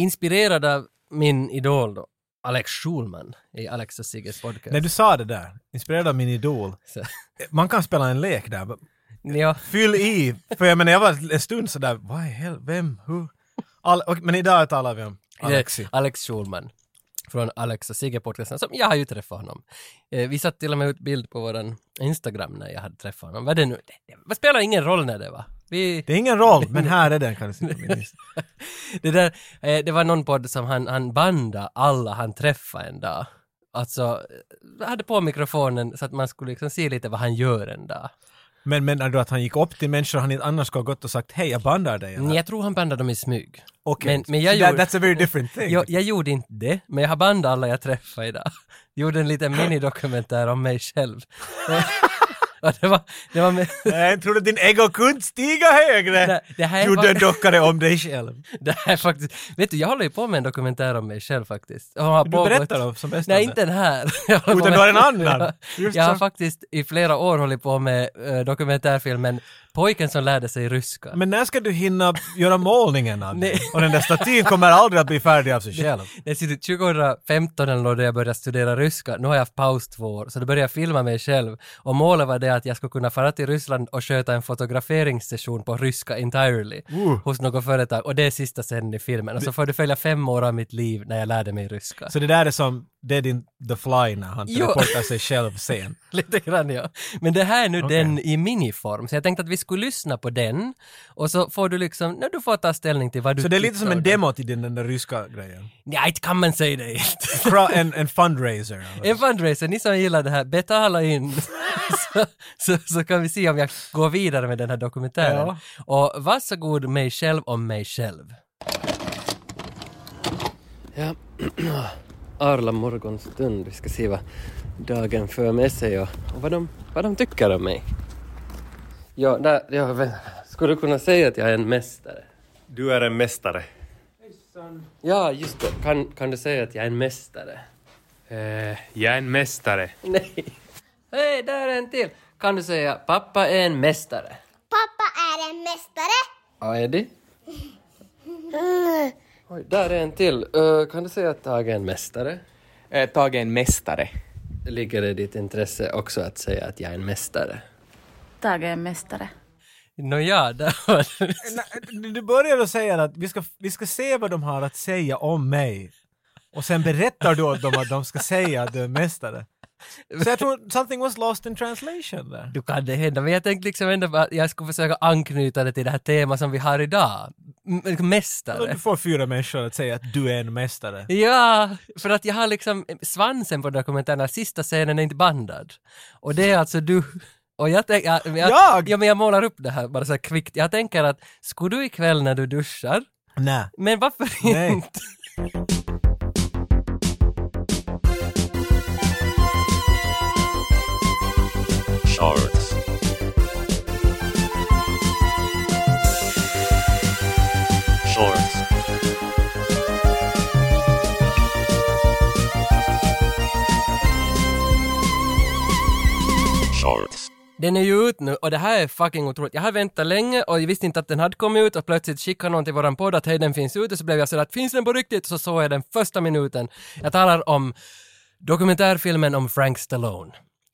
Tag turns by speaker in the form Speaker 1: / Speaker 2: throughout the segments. Speaker 1: Inspirerad av min idol då, Alex Schulman i Alex och Sigges podcast.
Speaker 2: När du sa det där, inspirerad av min idol,
Speaker 1: Så,
Speaker 2: man kan spela en lek där.
Speaker 1: ja,
Speaker 2: Fyll i! För jag menar, jag var en stund sådär, vad i hel, vem, hur? All, och, men idag talar vi om Alexi.
Speaker 1: Alex Schulman från Alex och Sigge podcasten som jag har ju träffat honom. Eh, vi satte till och med ut bild på våran Instagram när jag hade träffat honom. Vad det nu? Det, det spelar ingen roll när det var. Vi,
Speaker 2: Det är ingen roll, men här är den kan du se på min lista.
Speaker 1: det, där, eh, det var någon podd som han, han bandade alla han träffade en dag. Alltså, eh, hade på mikrofonen så att man skulle liksom se lite vad han gör en dag.
Speaker 2: Men menar du att han gick upp till människor han inte annars skulle ha gått och sagt hej, jag bandar dig? eller?
Speaker 1: Nej, jag tror han bandade dem i smyg.
Speaker 2: Okej,
Speaker 1: men- men jag
Speaker 2: So that-
Speaker 1: gjorde-
Speaker 2: that's a very different thing.
Speaker 1: Jag, jag gjorde inte det, men jag har bandat alla jag träffade idag. Gjorde en liten minidokumentär om mig själv. Och det, var, det, var med,
Speaker 2: Nej, tror du din ego kunde stiga högre?
Speaker 1: det, det, här är
Speaker 2: Gjorde en
Speaker 1: fak-
Speaker 2: dockare om dig själv.
Speaker 1: det här är faktiskt... Vet du, jag håller ju på med en dokumentär om mig själv faktiskt. Och har
Speaker 2: Du
Speaker 1: pågått-
Speaker 2: berättar om som bäst om
Speaker 1: Nej,
Speaker 2: det.
Speaker 1: inte den här. Jag håller på
Speaker 2: Utan
Speaker 1: med-
Speaker 2: du har en annan.
Speaker 1: Jag,
Speaker 2: Just
Speaker 1: jag har
Speaker 2: så.
Speaker 1: faktiskt i flera år hållit på med eh, dokumentärfilmen Pojken som lärde sig ryska.
Speaker 2: Men när ska du hinna göra målningen av
Speaker 1: Nej.
Speaker 2: den? Och den där statyn kommer aldrig att bli färdig av sig själv.
Speaker 1: Det sitter 2015 eller något då jag började studera ryska. Nu har jag haft paus två år, så då började jag filma mig själv. Och målet var det att jag skulle kunna fara till Ryssland och sköta en fotograferingssession på ryska entirely
Speaker 2: Uh.
Speaker 1: hos något företag. Och det är sista scenen i filmen. Och så får du följa fem år av mitt liv när jag lärde mig ryska.
Speaker 2: Så det där är som Dead in the Fly när han
Speaker 1: Jo.
Speaker 2: teleportar sig själv sen.
Speaker 1: Lite grann ja. Men det här är nu
Speaker 2: Okej.
Speaker 1: den i miniform, så jag tänkte att vi skulle lyssna på den och så får du liksom, när du får ta ställning till vad du
Speaker 2: Så det är lite som en
Speaker 1: tyckte om
Speaker 2: demo till den, den där ryska grejen.
Speaker 1: den. Nej, inte kan man säga det inte.
Speaker 2: Fra, en, en fundraiser.
Speaker 1: En fundraiser, ni som gillar det här, betala in så, så, så kan vi se om jag går vidare med den här dokumentären.
Speaker 2: Ja.
Speaker 1: Och varsågod mig själv om mig själv. Ja, arla morgonstund. Vi ska se vad dagen för med sig och, och vad, de, vad de tycker om mig. Ja, där, ja, vä- skulle du kunna säga att jag är en mästare?
Speaker 3: Du är en mästare.
Speaker 1: Ja, just det. Kan, kan du säga att jag är en mästare?
Speaker 3: Eh, jag är en mästare.
Speaker 1: Nej. Hej, där är en till. Kan du säga pappa är en mästare?
Speaker 4: Pappa är en mästare.
Speaker 1: Ja, Eddie? Oj, där är en till. Eh, kan du säga att Tage är en mästare?
Speaker 5: Eh, Tage är en mästare.
Speaker 1: Ligger det i ditt intresse också att säga att jag är en mästare?
Speaker 6: Tage är mästare.
Speaker 1: Nåja, där var det.
Speaker 2: Nej, Du börjar att säga att vi ska, vi ska se vad de har att säga om mig. Och sen berättar du åt dem att de ska säga att du är mästare. Så jag tror something was lost in translation där.
Speaker 1: Du kan det hända, men jag tänkte liksom ändå bara att jag skulle försöka anknyta det till det här temat som vi har idag. M-
Speaker 2: Och
Speaker 1: mästare.
Speaker 2: Du får fyra människor att säga att du är en mästare.
Speaker 1: Ja, för att jag har liksom svansen på dokumentären, sista scenen är inte bandad. Och det är alltså du. Och jag tänker, ja, men jag,
Speaker 2: Jag?
Speaker 1: Ja, men jag målar upp det här bara så här kvickt. Jag tänker att, skulle du ikväll när du duschar,
Speaker 2: Nej.
Speaker 1: men varför
Speaker 2: Nej.
Speaker 1: inte?
Speaker 7: Shorts. Shorts. Shorts.
Speaker 1: Den är ju ut nu och det här är fucking otroligt. Jag har väntat länge och jag visste inte att den hade kommit ut och plötsligt skickade någon till våran podd att hej den finns ute så blev jag sådär att finns den på riktigt? Och så såg jag den första minuten. Jag talar om dokumentärfilmen om Frank Stallone.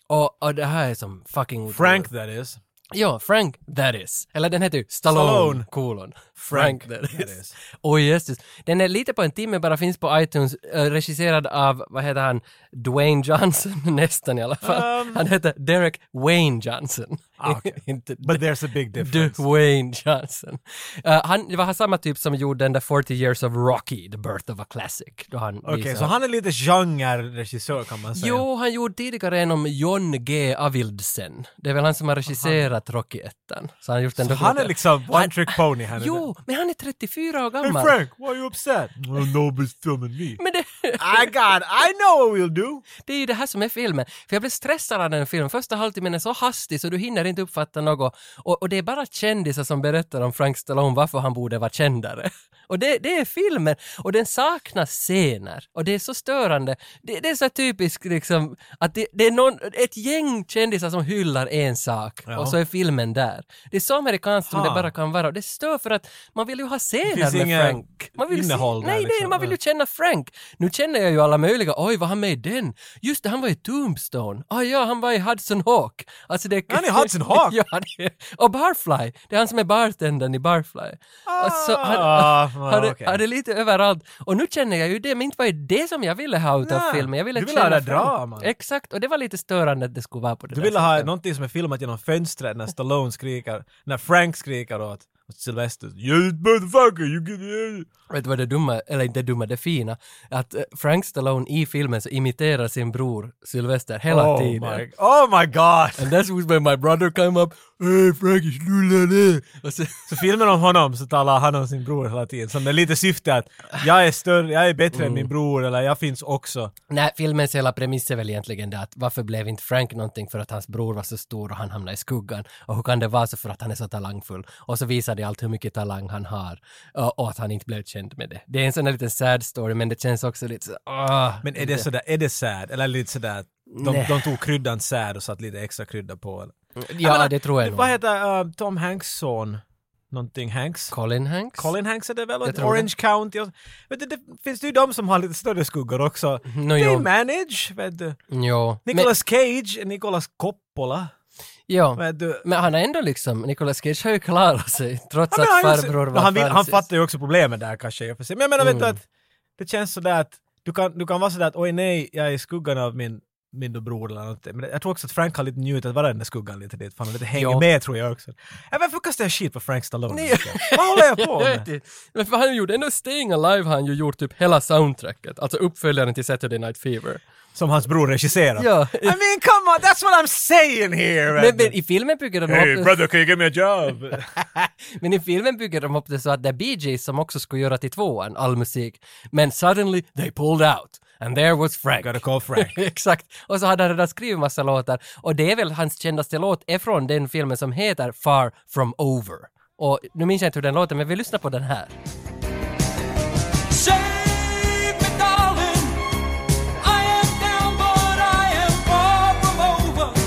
Speaker 1: Och, och det här är som fucking otroligt.
Speaker 2: Frank that is.
Speaker 1: Ja, Frank that is. Eller den heter ju Stallone,
Speaker 2: Stallone.
Speaker 1: kolon. Frank,
Speaker 2: Frank
Speaker 1: that
Speaker 2: that
Speaker 1: is.
Speaker 2: is.
Speaker 1: Oj, jösses. Den är lite på en timme, bara finns på iTunes, eh, regisserad av, vad heter han, Dwayne Johnson, nästan i alla fall. han heter Derek Wayne Johnson.
Speaker 2: Um, Ah, okej.
Speaker 1: Inte
Speaker 2: But there's a big difference.
Speaker 1: Dwayne Johnson. Eh, han det var samma typ som gjorde den där 40 years of Rocky, the birth of a classic. då han liksom-
Speaker 2: Okej,
Speaker 1: visade-
Speaker 2: så han är lite genreregissör kan man säga.
Speaker 1: Jo, han gjorde tidigare en om John G. Avildsen. Det är väl han som har regisserat Rocky 1. Så han har gjort en
Speaker 2: Så han är
Speaker 1: dokumentär.
Speaker 2: liksom one
Speaker 1: Han-
Speaker 2: trick pony. Han är
Speaker 1: Jo, men han är 34 år
Speaker 2: där. Hey
Speaker 1: gammal.
Speaker 2: Frank, why are you upset? Mm, Well, nobody's filming me.
Speaker 1: Men det,
Speaker 2: I got, I know what we'll do.
Speaker 1: det är ju det här som är filmen. För jag blev stressad av den filmen. Första halvtimmen är så hastig så du hinner inte uppfatta något. Och, och det är bara kändisar som berättar om Frank Stallone varför han borde vara kändare. Och det, det är filmen. Och den saknar scener. Och det är så störande. Det, det är så typiskt liksom att det, det är någon, ett gäng kändisar som hyllar en sak
Speaker 2: Ja.
Speaker 1: och så är filmen där. Det är så amerikanskt som
Speaker 2: Ha.
Speaker 1: det bara kan vara. Och det stör för att man vill ju ha scener
Speaker 2: finns
Speaker 1: med
Speaker 2: inga
Speaker 1: Frank. Man vill
Speaker 2: innehåll
Speaker 1: se,
Speaker 2: där
Speaker 1: nej, nej,
Speaker 2: liksom.
Speaker 1: man vill ju
Speaker 2: Ja.
Speaker 1: känna Frank. Nu känner jag ju alla möjliga. Oj, vad han med i den? Just det, han var i Tombstone. Ah, ja, han var i Hudson Hawk. Alltså det...
Speaker 2: Han är Hudson Hawk?
Speaker 1: ja, det är... Och Barfly. Det är han som är bartendern i Barfly. Alltså,
Speaker 2: Ah,
Speaker 1: hade,
Speaker 2: okej.
Speaker 1: hade lite överallt. Och nu känner jag ju det, men inte var det det som jag ville ha utav
Speaker 2: Nej,
Speaker 1: filmen. Jag ville
Speaker 2: du ville ha
Speaker 1: känna
Speaker 2: det
Speaker 1: Frank.
Speaker 2: dramat.
Speaker 1: Exakt, och det var lite störande att det skulle vara på det
Speaker 2: Du
Speaker 1: där
Speaker 2: ville ha
Speaker 1: sättet.
Speaker 2: någonting som är filmat genom fönstret när Stallone skriker, när Frank skriker åt åt Sylvester You motherfucker, you get
Speaker 1: Vet du vad det dumma, eller inte det dumma, det fina? Att eh, Frank Stallone i filmen så imiterar sin bror Sylvester hela
Speaker 2: oh
Speaker 1: tiden.
Speaker 2: My, oh my god!
Speaker 1: And that's when my brother came up, Hey Frankie, sluta det! Och så,
Speaker 2: Så filmen om honom så talar han om sin bror hela tiden. Som det är lite syfte att jag är större, jag är bättre än min bror eller jag finns också.
Speaker 1: nej, filmens hela premiss är väl egentligen det att varför blev inte Frank någonting för att hans bror var så stor och han hamnade i skuggan? Och hur kan det vara så för att han är så talangfull? Och så visar det allt hur mycket talang han har och, och att han inte blev känd med det. Det är en sån där liten sad story men det känns också lite så, ah,
Speaker 2: Men är det sådär, är det sad? Eller lite sådär, att de,
Speaker 1: Nej.
Speaker 2: de tog kryddan sad och satt lite extra krydda på? Eller?
Speaker 1: Ja,
Speaker 2: menar,
Speaker 1: det tror jag nog.
Speaker 2: Vad heter eh, Tom Hanks son? Någonting Hanks?
Speaker 1: Colin Hanks?
Speaker 2: Colin Hanks är det väl?
Speaker 1: Jag
Speaker 2: Och
Speaker 1: tror
Speaker 2: Orange County och, vet du, det finns det ju de som har lite större skuggor också.
Speaker 1: No,
Speaker 2: They
Speaker 1: Mm, jo.
Speaker 2: manage, vet du.
Speaker 1: Jo. Men-
Speaker 2: Nicolas Cage, Nicolas Coppola,
Speaker 1: Ja,
Speaker 2: vet du.
Speaker 1: men han har ändå liksom, Nicolas Cage har ju klarat sig trots
Speaker 2: Ja, men
Speaker 1: att
Speaker 2: han, är
Speaker 1: farbror
Speaker 2: också-
Speaker 1: var
Speaker 2: han, vill, han
Speaker 1: Francis.
Speaker 2: fattar ju också problemen där kanske i och för sig. Men jag menar
Speaker 8: Mm.
Speaker 2: vet du att det känns sådär att du kan, du kan vara sådär att oj nej, jag är i skuggan av min min bror eller något. Men jag tror också att Frank har lite njutit att vara i den där skuggan lite dit, för han lite hänger
Speaker 1: Ja.
Speaker 2: med tror jag också. Ja, varför kastar jag skit på Frank Stallone?
Speaker 1: Nej.
Speaker 2: egentligen? Vad håller jag på
Speaker 1: Jag vet
Speaker 2: med?
Speaker 1: inte. Men för han gjorde ändå Staying Alive, har han ju gjort typ hela soundtracket, alltså uppföljaren till Saturday Night Fever.
Speaker 2: Som hans bror regisserar.
Speaker 1: Ja.
Speaker 2: I mean come on, that's what I'm saying here!
Speaker 1: Men, men i filmen bygger de upp
Speaker 2: Hey
Speaker 1: det-
Speaker 2: brother, can you give me a job?
Speaker 1: Men i filmen bygger de upp det så att det är Bee Gees som också skulle göra till tvåan, all musik. Men suddenly they pulled out. And there was Frank.
Speaker 2: Gotta call Frank.
Speaker 1: Exakt. Och så hade han redan skrivit massa låtar. Och det är väl hans kändaste låt är från den filmen som heter Far From Over. Och nu minns jag inte hur den låter, men vi lyssnar på den här.
Speaker 8: Save me, darling. I am down, but I am far from over.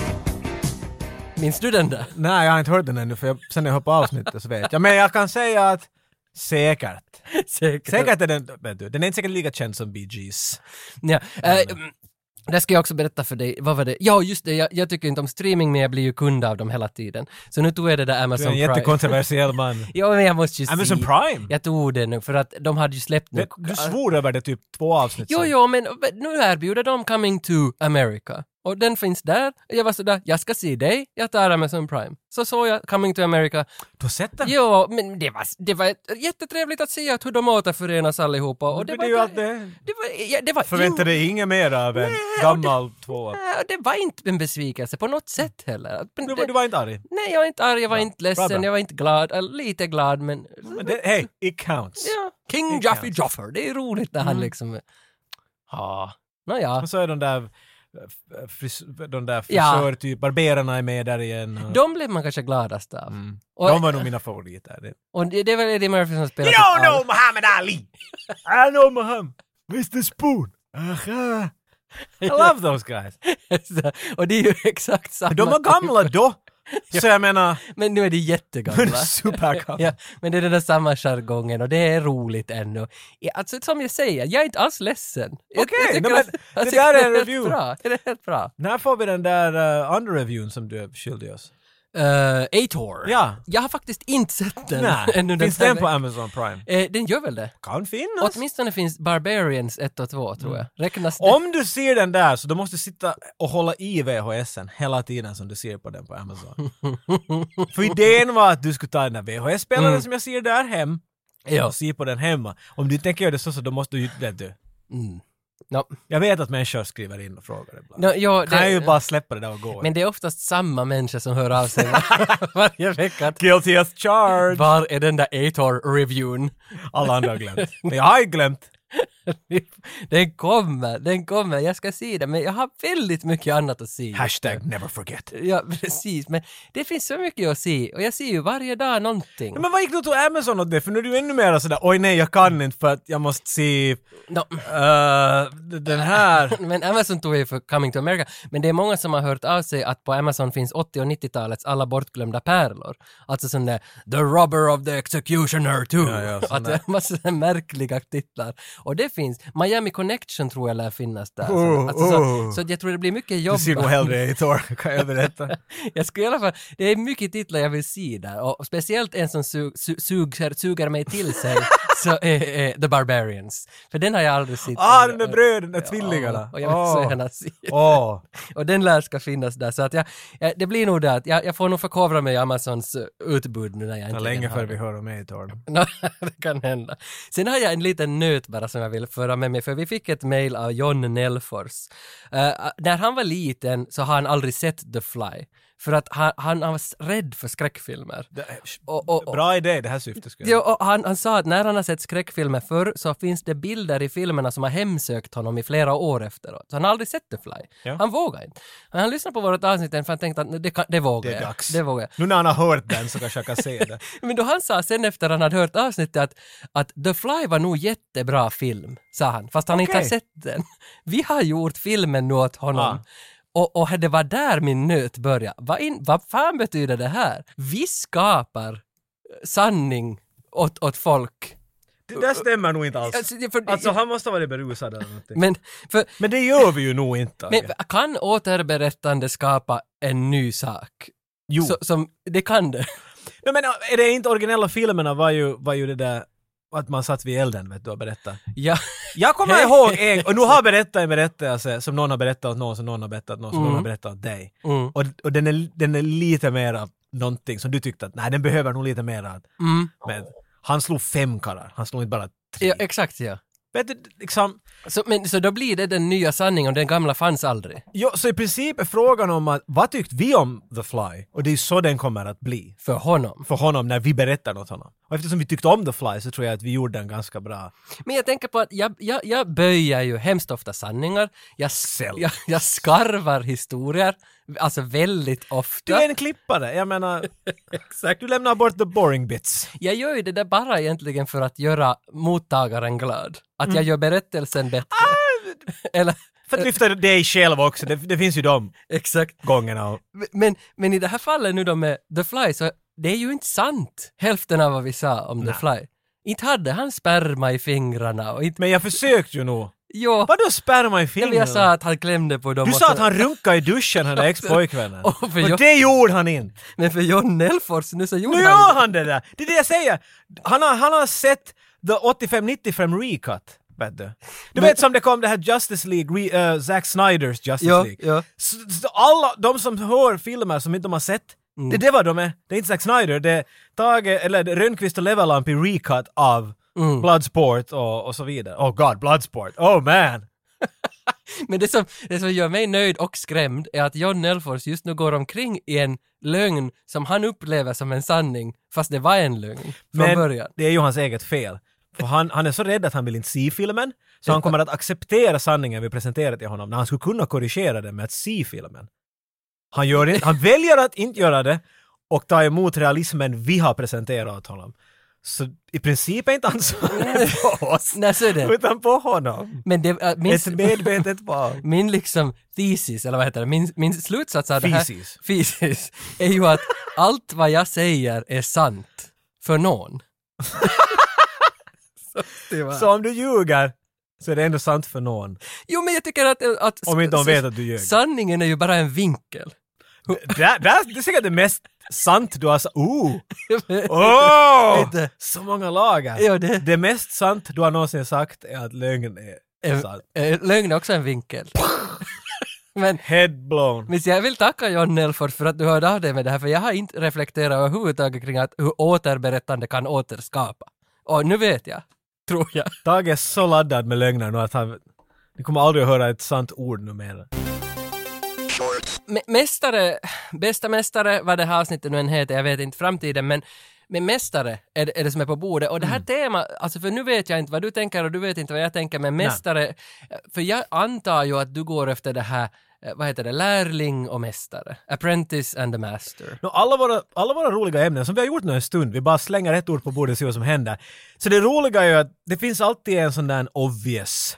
Speaker 1: Minns du den där?
Speaker 2: Nej, jag har inte hört den ännu, för jag, sen när jag hoppade avsnittet så vet jag. Men jag kan säga att säkert.
Speaker 1: Säkert.
Speaker 2: Säkert är den, vet du, den är inte säkert lika känd som Bee Gees.
Speaker 1: Ja, eh, mm, det ska jag också berätta för dig. Vad var det? Ja, just det. Jag, jag tycker inte om streaming, men jag blir ju kund av dem hela tiden. Så nu tog jag det där
Speaker 2: Du är
Speaker 1: Amazon
Speaker 2: en
Speaker 1: Prime.
Speaker 2: jättekontroversiell man.
Speaker 1: Ja, men jag måste ju
Speaker 2: Amazon
Speaker 1: se.
Speaker 2: Prime?
Speaker 1: Jag tog det nu, för att de hade ju släppt nu.
Speaker 2: Det, du svor över det typ två avsnitt
Speaker 1: Jo,
Speaker 2: sen.
Speaker 1: jo, men men nu erbjuder de Coming to America. Och den finns där. Och jag var sådär, jag ska se dig, jag tar Amazon Prime. Så såg jag Coming to America.
Speaker 2: Du har sett den?
Speaker 1: Jo, men det var, det var ett- jättetrevligt att se att hur de återförenas allihopa. Och
Speaker 2: Och
Speaker 1: det
Speaker 2: det
Speaker 1: var,
Speaker 2: blir ju allt det.
Speaker 1: det var, ja, det var,
Speaker 2: Förvänta
Speaker 1: jo,
Speaker 2: dig inget mer av en
Speaker 1: Nej,
Speaker 2: gammal tvåa.
Speaker 1: äh, det var inte en besvikelse på något sätt heller. Men
Speaker 2: Du,
Speaker 1: det-
Speaker 2: du var inte arg?
Speaker 1: Nej, jag var inte arg, jag var
Speaker 2: Bra.
Speaker 1: inte ledsen,
Speaker 2: Bra, bra.
Speaker 1: jag var inte glad. Äh, Lite glad, men...
Speaker 2: Men det, hey, it counts.
Speaker 1: Ja, King
Speaker 2: Det
Speaker 1: Joffrey
Speaker 2: kan-
Speaker 1: Joffer, det är roligt när han liksom... Ja, nåja.
Speaker 2: Och så är de där, eh, fris, de där
Speaker 1: Ja.
Speaker 2: frisörtyp, barberarna är med där igen. och-
Speaker 1: De blev man kanske gladast av.
Speaker 2: Mm.
Speaker 1: Och,
Speaker 2: De var nog mina favoriter. Det-
Speaker 1: och det, det är väl Eddie Murphy som spelar
Speaker 2: You
Speaker 1: typ
Speaker 2: don't know
Speaker 1: alla.
Speaker 2: Muhammad Ali. I know Muhammad. Mr. Spoon. Aha. I love those guys.
Speaker 1: och det är ju exakt samma.
Speaker 2: De var gamla då. Så jag menar,
Speaker 1: Men nu är de jättegamla.
Speaker 2: supergamla.
Speaker 1: Ja, men det är den där samma jargongen och det är roligt ännu. Ja, Alltså som jag säger, jag är inte alls ledsen. Jag-
Speaker 2: Okej,
Speaker 1: jag tycker
Speaker 2: nej, men
Speaker 1: att- jag
Speaker 2: det
Speaker 1: tycker
Speaker 2: där
Speaker 1: att
Speaker 2: är en
Speaker 1: helt
Speaker 2: review.
Speaker 1: Bra. Det är helt bra.
Speaker 2: När får vi den där uh, under-reviewn som du är skyldig oss?
Speaker 1: Uh, A-Tor.
Speaker 2: Ja.
Speaker 1: Jag har faktiskt inte sett den
Speaker 2: Nej,
Speaker 1: ännu.
Speaker 2: finns
Speaker 1: här
Speaker 2: den på
Speaker 1: veckan.
Speaker 2: Amazon Prime?
Speaker 1: Eh, den gör väl det?
Speaker 2: Kan finnas.
Speaker 1: Åtminstone finns Barbarians 1 och 2 tror jag. Räknas det?
Speaker 2: Mm. Om du ser den där så då måste du sitta och hålla i VHSen hela tiden som du ser på den på Amazon. För idén var att du skulle ta den där VHS-spelaren
Speaker 1: Mm.
Speaker 2: som jag ser där hem
Speaker 1: Ja.
Speaker 2: och se på den hemma. Om du tänker göra det så så då måste du ju, vet du.
Speaker 1: Mm. No.
Speaker 2: Jag vet att människor skriver in och frågar ibland.
Speaker 1: No, ja,
Speaker 2: kan
Speaker 1: det-
Speaker 2: jag ju bara släppa det där och gå?
Speaker 1: Men det är oftast samma människa som hör av sig varje vecka. att,
Speaker 2: Guilty as charged!
Speaker 1: Var är den där Ator-reviewn?
Speaker 2: Alla andra har glömt. Men jag har ju glömt.
Speaker 1: den kommer, den kommer. Jag ska se den, men jag har väldigt mycket annat att se.
Speaker 2: Hashtag never forget.
Speaker 1: Ja, precis. Men det finns så mycket att se och jag ser ju varje dag någonting.
Speaker 2: Men vad gick du till Amazon åt det? För nu är du ännu mer sådär oj nej jag kan inte för att jag måste se
Speaker 1: Nå,
Speaker 2: eh, d- den här.
Speaker 1: men Amazon tog ju för Coming to America. Men det är många som har hört av sig att på Amazon finns 80 och 90-talets alla bortglömda pärlor. Alltså sån där “The Robber of the Executioner 2”.
Speaker 2: Ja, ja, sån
Speaker 1: att det
Speaker 2: där.
Speaker 1: är massa sådana märkliga titlar. Och det finns. Miami Connection tror jag lär finnas där.
Speaker 2: Oh,
Speaker 1: alltså, så,
Speaker 2: oh.
Speaker 1: så jag tror det blir mycket jobb.
Speaker 2: Du ser nog hellre i tår kan jag berätta.
Speaker 1: Jag skulle i alla fall, det är mycket titlar jag vill se där och speciellt en som su, su, suger, suger mig till sig så är, är The Barbarians. För den har jag aldrig sett.
Speaker 2: Ah den Ah. där bröderna, tvillingarna. Ah,
Speaker 1: Ja, och jag vill så
Speaker 2: Åh.
Speaker 1: gärna se.
Speaker 2: Åh.
Speaker 1: Och den lär ska finnas där så att jag, jag det blir nog det att jag, jag får nog förkovra mig i Amazons eh, utbud nu när jag
Speaker 2: Det
Speaker 1: inte
Speaker 2: är länge för vi hör om Eitorn.
Speaker 1: Nå, det kan hända. Sen har jag en liten nöt bara som jag vill föra med mig, för vi fick ett mail av John Nelfors. Eh, när han var liten så har han aldrig sett The Fly, för att han, han, han var s- rädd för skräckfilmer. Och, och, och,
Speaker 2: Bra idé, det här syftet skulle
Speaker 1: Jo,
Speaker 2: jag...
Speaker 1: och han, han sa att när han har sett skräckfilmer förr så finns det bilder i filmerna som har hemsökt honom i flera år efteråt. Så han har aldrig sett The Fly.
Speaker 2: Ja.
Speaker 1: Han vågar inte. Men han lyssnade på vårt avsnitt för han tänkte att "Nu, det, kan, det vågar
Speaker 2: Det är
Speaker 1: jag.
Speaker 2: dags.
Speaker 1: Det vågar jag.
Speaker 2: Nu när han har hört den så kanske jag kan se det.
Speaker 1: Men då han sa sen efter han hade hört avsnittet att, att The Fly var nog jättebra film, sa han, fast han inte har
Speaker 2: Okej.
Speaker 1: sett den. Vi har gjort filmen nu åt honom.
Speaker 2: Ah.
Speaker 1: Och, och det var där min nöt började. Vad, in, vad fan betyder det här? Vi skapar sanning åt, åt folk.
Speaker 2: Det där stämmer nog inte alls.
Speaker 1: Alltså, det- för-
Speaker 2: Alltså han måste ha varit berusad eller någonting.
Speaker 1: Men, för,
Speaker 2: Men det gör vi ju nog inte.
Speaker 1: men
Speaker 2: Tage.
Speaker 1: kan återberättande skapa en ny sak?
Speaker 2: Jo.
Speaker 1: Så, som, det kan det.
Speaker 2: Nej, men äh, är det inte originella filmerna var ju, var ju det där att man satt vid elden vet du och berättade.
Speaker 1: Ja.
Speaker 2: Jag kommer
Speaker 1: Hej.
Speaker 2: ihåg en, och nu har jag berättat en berättelse som någon har berättat åt någon, som någon har berättat åt någon, som
Speaker 1: Mm.
Speaker 2: någon har berättat åt dig.
Speaker 1: Mm.
Speaker 2: Och, och den, är, den är lite mera någonting som du tyckte att nej den behöver nog lite mera. att-
Speaker 1: Mm.
Speaker 2: Men han slog fem karlar, han slog inte bara tre.
Speaker 1: ja, exakt ja.
Speaker 2: Vet du, liksom,
Speaker 1: Så, men, så då blir det den nya sanningen, den gamla fanns aldrig.
Speaker 2: ja, så i princip är frågan om att vad tyckte vi om The Fly? Och det är så den kommer att bli.
Speaker 1: för honom.
Speaker 2: för honom när vi berättar åt honom. Och eftersom vi tyckte om The Fly så tror jag att vi gjorde den ganska bra.
Speaker 1: Men jag tänker på att jag, jag, jag böjer ju hemskt ofta sanningar. Jag,
Speaker 2: Sällan.
Speaker 1: jag, jag skarvar historier, alltså väldigt ofta.
Speaker 2: Du är en klippare, jag menar... Exakt. Du lämnar bort the boring bits.
Speaker 1: Jag gör ju det där bara egentligen för att göra mottagaren glad. Att
Speaker 2: Mm.
Speaker 1: jag gör berättelsen bättre.
Speaker 2: Ah!
Speaker 1: Eller,
Speaker 2: För att lyfta dig själv också, det, det finns ju de
Speaker 1: exakt.
Speaker 2: gångerna. Och,
Speaker 1: Men, men i det här fallet nu då med The Fly, så det är ju inte sant hälften av vad vi sa om The Fly. Inte hade han sperma i fingrarna och inte...
Speaker 2: men jag försökte ju nog.
Speaker 1: Jo,
Speaker 2: Vadå sperma i
Speaker 1: men
Speaker 2: filmen?
Speaker 1: jag sa att han klämde på dem
Speaker 2: du
Speaker 1: och
Speaker 2: sa
Speaker 1: så-
Speaker 2: att han runkade i duschen, den där ex-pojkvännen.
Speaker 1: Åh, för jag-
Speaker 2: Och det gjorde han inte!
Speaker 1: Men för John Nelfors nu så gjorde
Speaker 2: Nu
Speaker 1: han ju
Speaker 2: gör han det där! Det är det jag säger! Han har, han har sett the 85-95 recut. Vet du du vet som det kom det här Justice League, re, eh, Zack Snyders Justice
Speaker 1: Ja,
Speaker 2: League.
Speaker 1: ja.
Speaker 2: S- s- alla de som hör filmer som inte de har sett,
Speaker 1: Mm.
Speaker 2: det är det vad de är. Det är inte Zack Snyder, det är Tage, eller det är Rönnqvist och Levalampi recut av
Speaker 1: Mm.
Speaker 2: Bloodsport och, och så vidare. Oh god, Bloodsport, oh man!
Speaker 1: Men det som, det som gör mig nöjd och skrämd är att John Nelfors just nu går omkring i en lögn som han upplever som en sanning, fast det var en lögn från
Speaker 2: Men
Speaker 1: början.
Speaker 2: det är ju hans eget fel. För han, han är så rädd att han vill inte se filmen, så han kommer att acceptera sanningen vi presenterar till honom när han skulle kunna korrigera den med att se filmen. Han, gör inte, han väljer att inte göra det och ta emot realismen vi har presenterat åt honom. Så i princip är inte ansvaret på oss,
Speaker 1: Nej, så är det.
Speaker 2: utan på honom.
Speaker 1: Men det, äh, min,
Speaker 2: Ett medvetet val.
Speaker 1: min liksom thesis, eller vad heter det, min, min slutsats av
Speaker 2: Thesis.
Speaker 1: det här thesis, är ju att allt vad jag säger är sant för någon. Så det var-
Speaker 2: Så om du ljuger så är det ändå sant för någon.
Speaker 1: Jo, men jag tycker att... att
Speaker 2: Om inte de vet att du ljög.
Speaker 1: Sanningen är ju bara en vinkel.
Speaker 2: Det, det, det är säkert det mest sant du har Oh! sagt. Ooh! Åh!
Speaker 1: Lite.
Speaker 2: Så många alltså. lager!
Speaker 1: Ja, det-
Speaker 2: det mest sant du har någonsin sagt är att lögn är sant.
Speaker 1: Eh, eh, Lögn är också en vinkel. men,
Speaker 2: Head blown.
Speaker 1: men så jag vill tacka John Nelford för att du hörde av dig med det här, för jag har inte reflekterat överhuvudtaget kring att hur återberättande kan återskapa. Och nu vet jag, tror jag.
Speaker 2: Tage är så laddad med lögner nu att han... Ni kommer aldrig att höra ett sant ord numera.
Speaker 1: M- mästare, bästa mästare, vad det här avsnittet nu än heter, jag vet inte framtiden, men Men mästare är det, är det som är på bordet. Och det här temat, alltså för nu vet jag inte vad du tänker och du vet inte vad jag tänker, men mästare, för jag antar ju att du går efter det här, eh, vad heter det, lärling och mästare. Apprentice and the master.
Speaker 2: Nå, alla, våra, alla våra roliga ämnen som vi har gjort nu en stund, vi bara slänger ett ord på bordet och ser vad som händer. Så det roliga är ju att det finns alltid en sån där obvious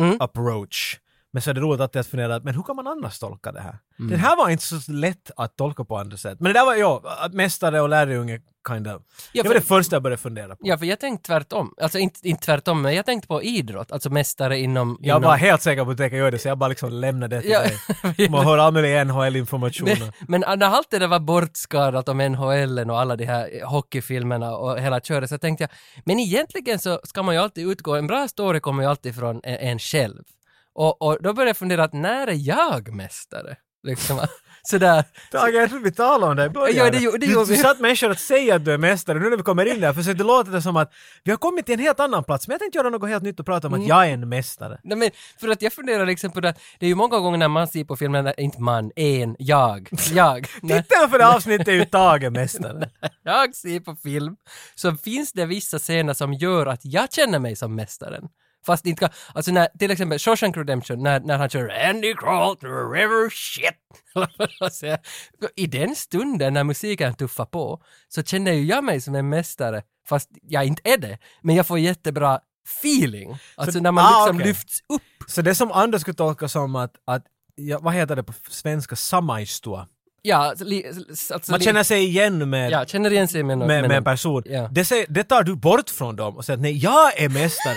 Speaker 1: Mm.
Speaker 2: approach. Men så är det roligt alltid att fundera, men hur kan man annars tolka det här?
Speaker 1: Mm.
Speaker 2: Den här var inte så lätt att tolka på andra sätt. Men det där var, ja, att mästare och lärjunge, kind of.
Speaker 1: Ja,
Speaker 2: det
Speaker 1: för-
Speaker 2: var det första jag började fundera på.
Speaker 1: Ja, för jag tänkte tvärtom. Alltså inte, inte tvärtom, men jag tänkte på idrott, alltså mästare inom...
Speaker 2: Jag
Speaker 1: inom...
Speaker 2: var helt säker på att jag göra det, så jag bara liksom lämnade det till
Speaker 1: Mm. Ja.
Speaker 2: dig. Man hör all möjlig NHL-information.
Speaker 1: Det, men när allt det där var bortskadat om NHL och alla de här hockeyfilmerna och hela köret så tänkte jag, men egentligen så ska man ju alltid utgå, en bra story kommer ju alltid från en, en själv. Och, och då började jag fundera att när är jag mästare? Liksom, sådär.
Speaker 2: Tage, jag trodde vi talade om det i början.
Speaker 1: Ja, det gjorde- det
Speaker 2: du,
Speaker 1: gjorde
Speaker 2: du
Speaker 1: vi.
Speaker 2: satt människor att säga att du är mästare, nu när vi kommer in där, för så det låter det som att vi har kommit till en helt annan plats, men jag tänkte göra något helt nytt och prata om
Speaker 1: Mm.
Speaker 2: att jag är en mästare.
Speaker 1: Nej, men för att jag funderar liksom på det, det är ju många gånger när man ser på filmen, där- inte man, en, jag, jag. När
Speaker 2: Titeln för det här avsnittet är ju Tage Mästare.
Speaker 1: jag ser på film så finns det vissa scener som gör att jag känner mig som mästaren. Fast inte kan, alltså när, till exempel Shawshank Redemption, när, när han kör Andy crawl to the river shit. Eller vad jag säger. I den stunden när musiken tuffar på så känner ju jag mig som en mästare, fast jag inte är det. Men jag får jättebra feeling. Alltså när man
Speaker 2: ah,
Speaker 1: liksom
Speaker 2: okej.
Speaker 1: lyfts upp.
Speaker 2: Så det som andra skulle tolka som att, att ja, vad heter det på svenska, samaistua.
Speaker 1: Ja, alltså, li, alltså,
Speaker 2: Man
Speaker 1: li-
Speaker 2: känner sig igen med,
Speaker 1: ja, känner igen sig med, någon-
Speaker 2: med, med en
Speaker 1: någon.
Speaker 2: person.
Speaker 1: Ja.
Speaker 2: Det, säger, det tar du bort från dem och säger att nej, jag är mästaren.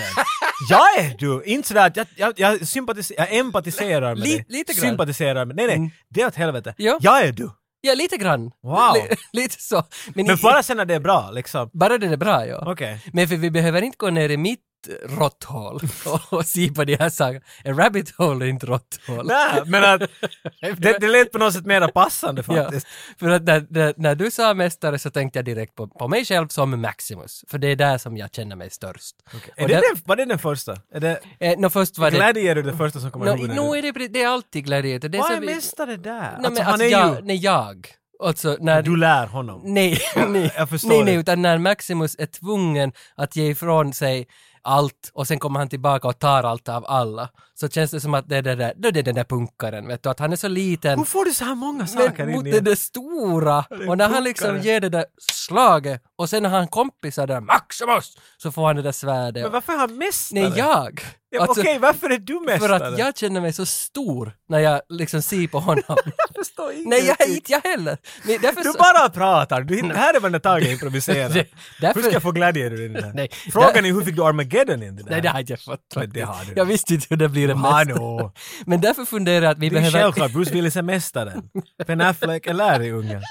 Speaker 2: jag är du! Inte sådär att jag, jag, jag, sympatis- jag empatiserar med
Speaker 1: Li-
Speaker 2: dig.
Speaker 1: lite grann.
Speaker 2: sympatiserar med Nej, nej.
Speaker 1: Mm.
Speaker 2: Det är åt helvete.
Speaker 1: Ja.
Speaker 2: Jag är du!
Speaker 1: Ja, lite grann.
Speaker 2: Wow.
Speaker 1: Li- lite så. Men,
Speaker 2: Men
Speaker 1: i-
Speaker 2: bara sen när det är bra, liksom.
Speaker 1: bara det är bra, ja.
Speaker 2: Okej.
Speaker 1: Men för vi behöver inte gå ner i mitt råtthål och, och se på de här sakerna. En rabbit hole är inte råtthål.
Speaker 2: Nej, men att det, det lät på något sätt mera passande
Speaker 1: Ja,
Speaker 2: faktiskt.
Speaker 1: för att när, när, när du sa mästare så tänkte jag direkt på, på mig själv som Maximus, för det är där som jag känner mig störst.
Speaker 2: Är
Speaker 1: Och
Speaker 2: det
Speaker 1: där-
Speaker 2: den, var det den första? Är det,
Speaker 1: eh, nå, först var det...
Speaker 2: Gladiator är det första som kommer
Speaker 1: Nå,
Speaker 2: i huvudet?
Speaker 1: nå är det, pre- det är alltid gladiator. Det
Speaker 2: Vad
Speaker 1: så
Speaker 2: är
Speaker 1: vi-
Speaker 2: mästare där?
Speaker 1: Nå, men
Speaker 2: alltså, han
Speaker 1: alltså,
Speaker 2: är
Speaker 1: jag,
Speaker 2: ju...
Speaker 1: nej, jag. Alltså, när,
Speaker 2: Du lär honom.
Speaker 1: Nej, nej,
Speaker 2: jag förstår
Speaker 1: nej, nej,
Speaker 2: det.
Speaker 1: utan när Maximus är tvungen att ge ifrån sig allt och sen kommer han tillbaka och tar allt av alla. Så känns det som att det är, det där, då är det den där punkaren, vet du, att han är så liten.
Speaker 2: Hur får du så här många saker
Speaker 1: Men
Speaker 2: in
Speaker 1: mot
Speaker 2: i
Speaker 1: det
Speaker 2: en-
Speaker 1: där stora,
Speaker 2: Det är
Speaker 1: och när han liksom
Speaker 2: punkare.
Speaker 1: ger det där slaget och sen när han kompisar där Maximus, så får han det där svärdet.
Speaker 2: Men varför är han mästare?
Speaker 1: Nej, jag!
Speaker 2: Ja,
Speaker 1: Alltså,
Speaker 2: Okej, varför är du
Speaker 1: för
Speaker 2: mästare?
Speaker 1: att jag känner mig så stor när jag liksom ser på honom.
Speaker 2: förstår inte.
Speaker 1: Nej, jag är inte jag heller! Men därför
Speaker 2: Du
Speaker 1: så-
Speaker 2: bara pratar! Du, det här är vad den Tage improviserar.
Speaker 1: Det- därför-
Speaker 2: Hur ska jag få Gladiator in i det här?
Speaker 1: Nej,
Speaker 2: Frågan
Speaker 1: där-
Speaker 2: är hur fick du Armageddon in i det
Speaker 1: Nej,
Speaker 2: här?
Speaker 1: det har jag fått.
Speaker 2: Men det har du.
Speaker 1: Jag visste inte hur det blir en
Speaker 2: Hallå.
Speaker 1: mästare. Men därför funderar jag att vi
Speaker 2: Det är
Speaker 1: behöver...
Speaker 2: självklart, Bruce Willis är mästaren. Ben Affleck är lärjungen.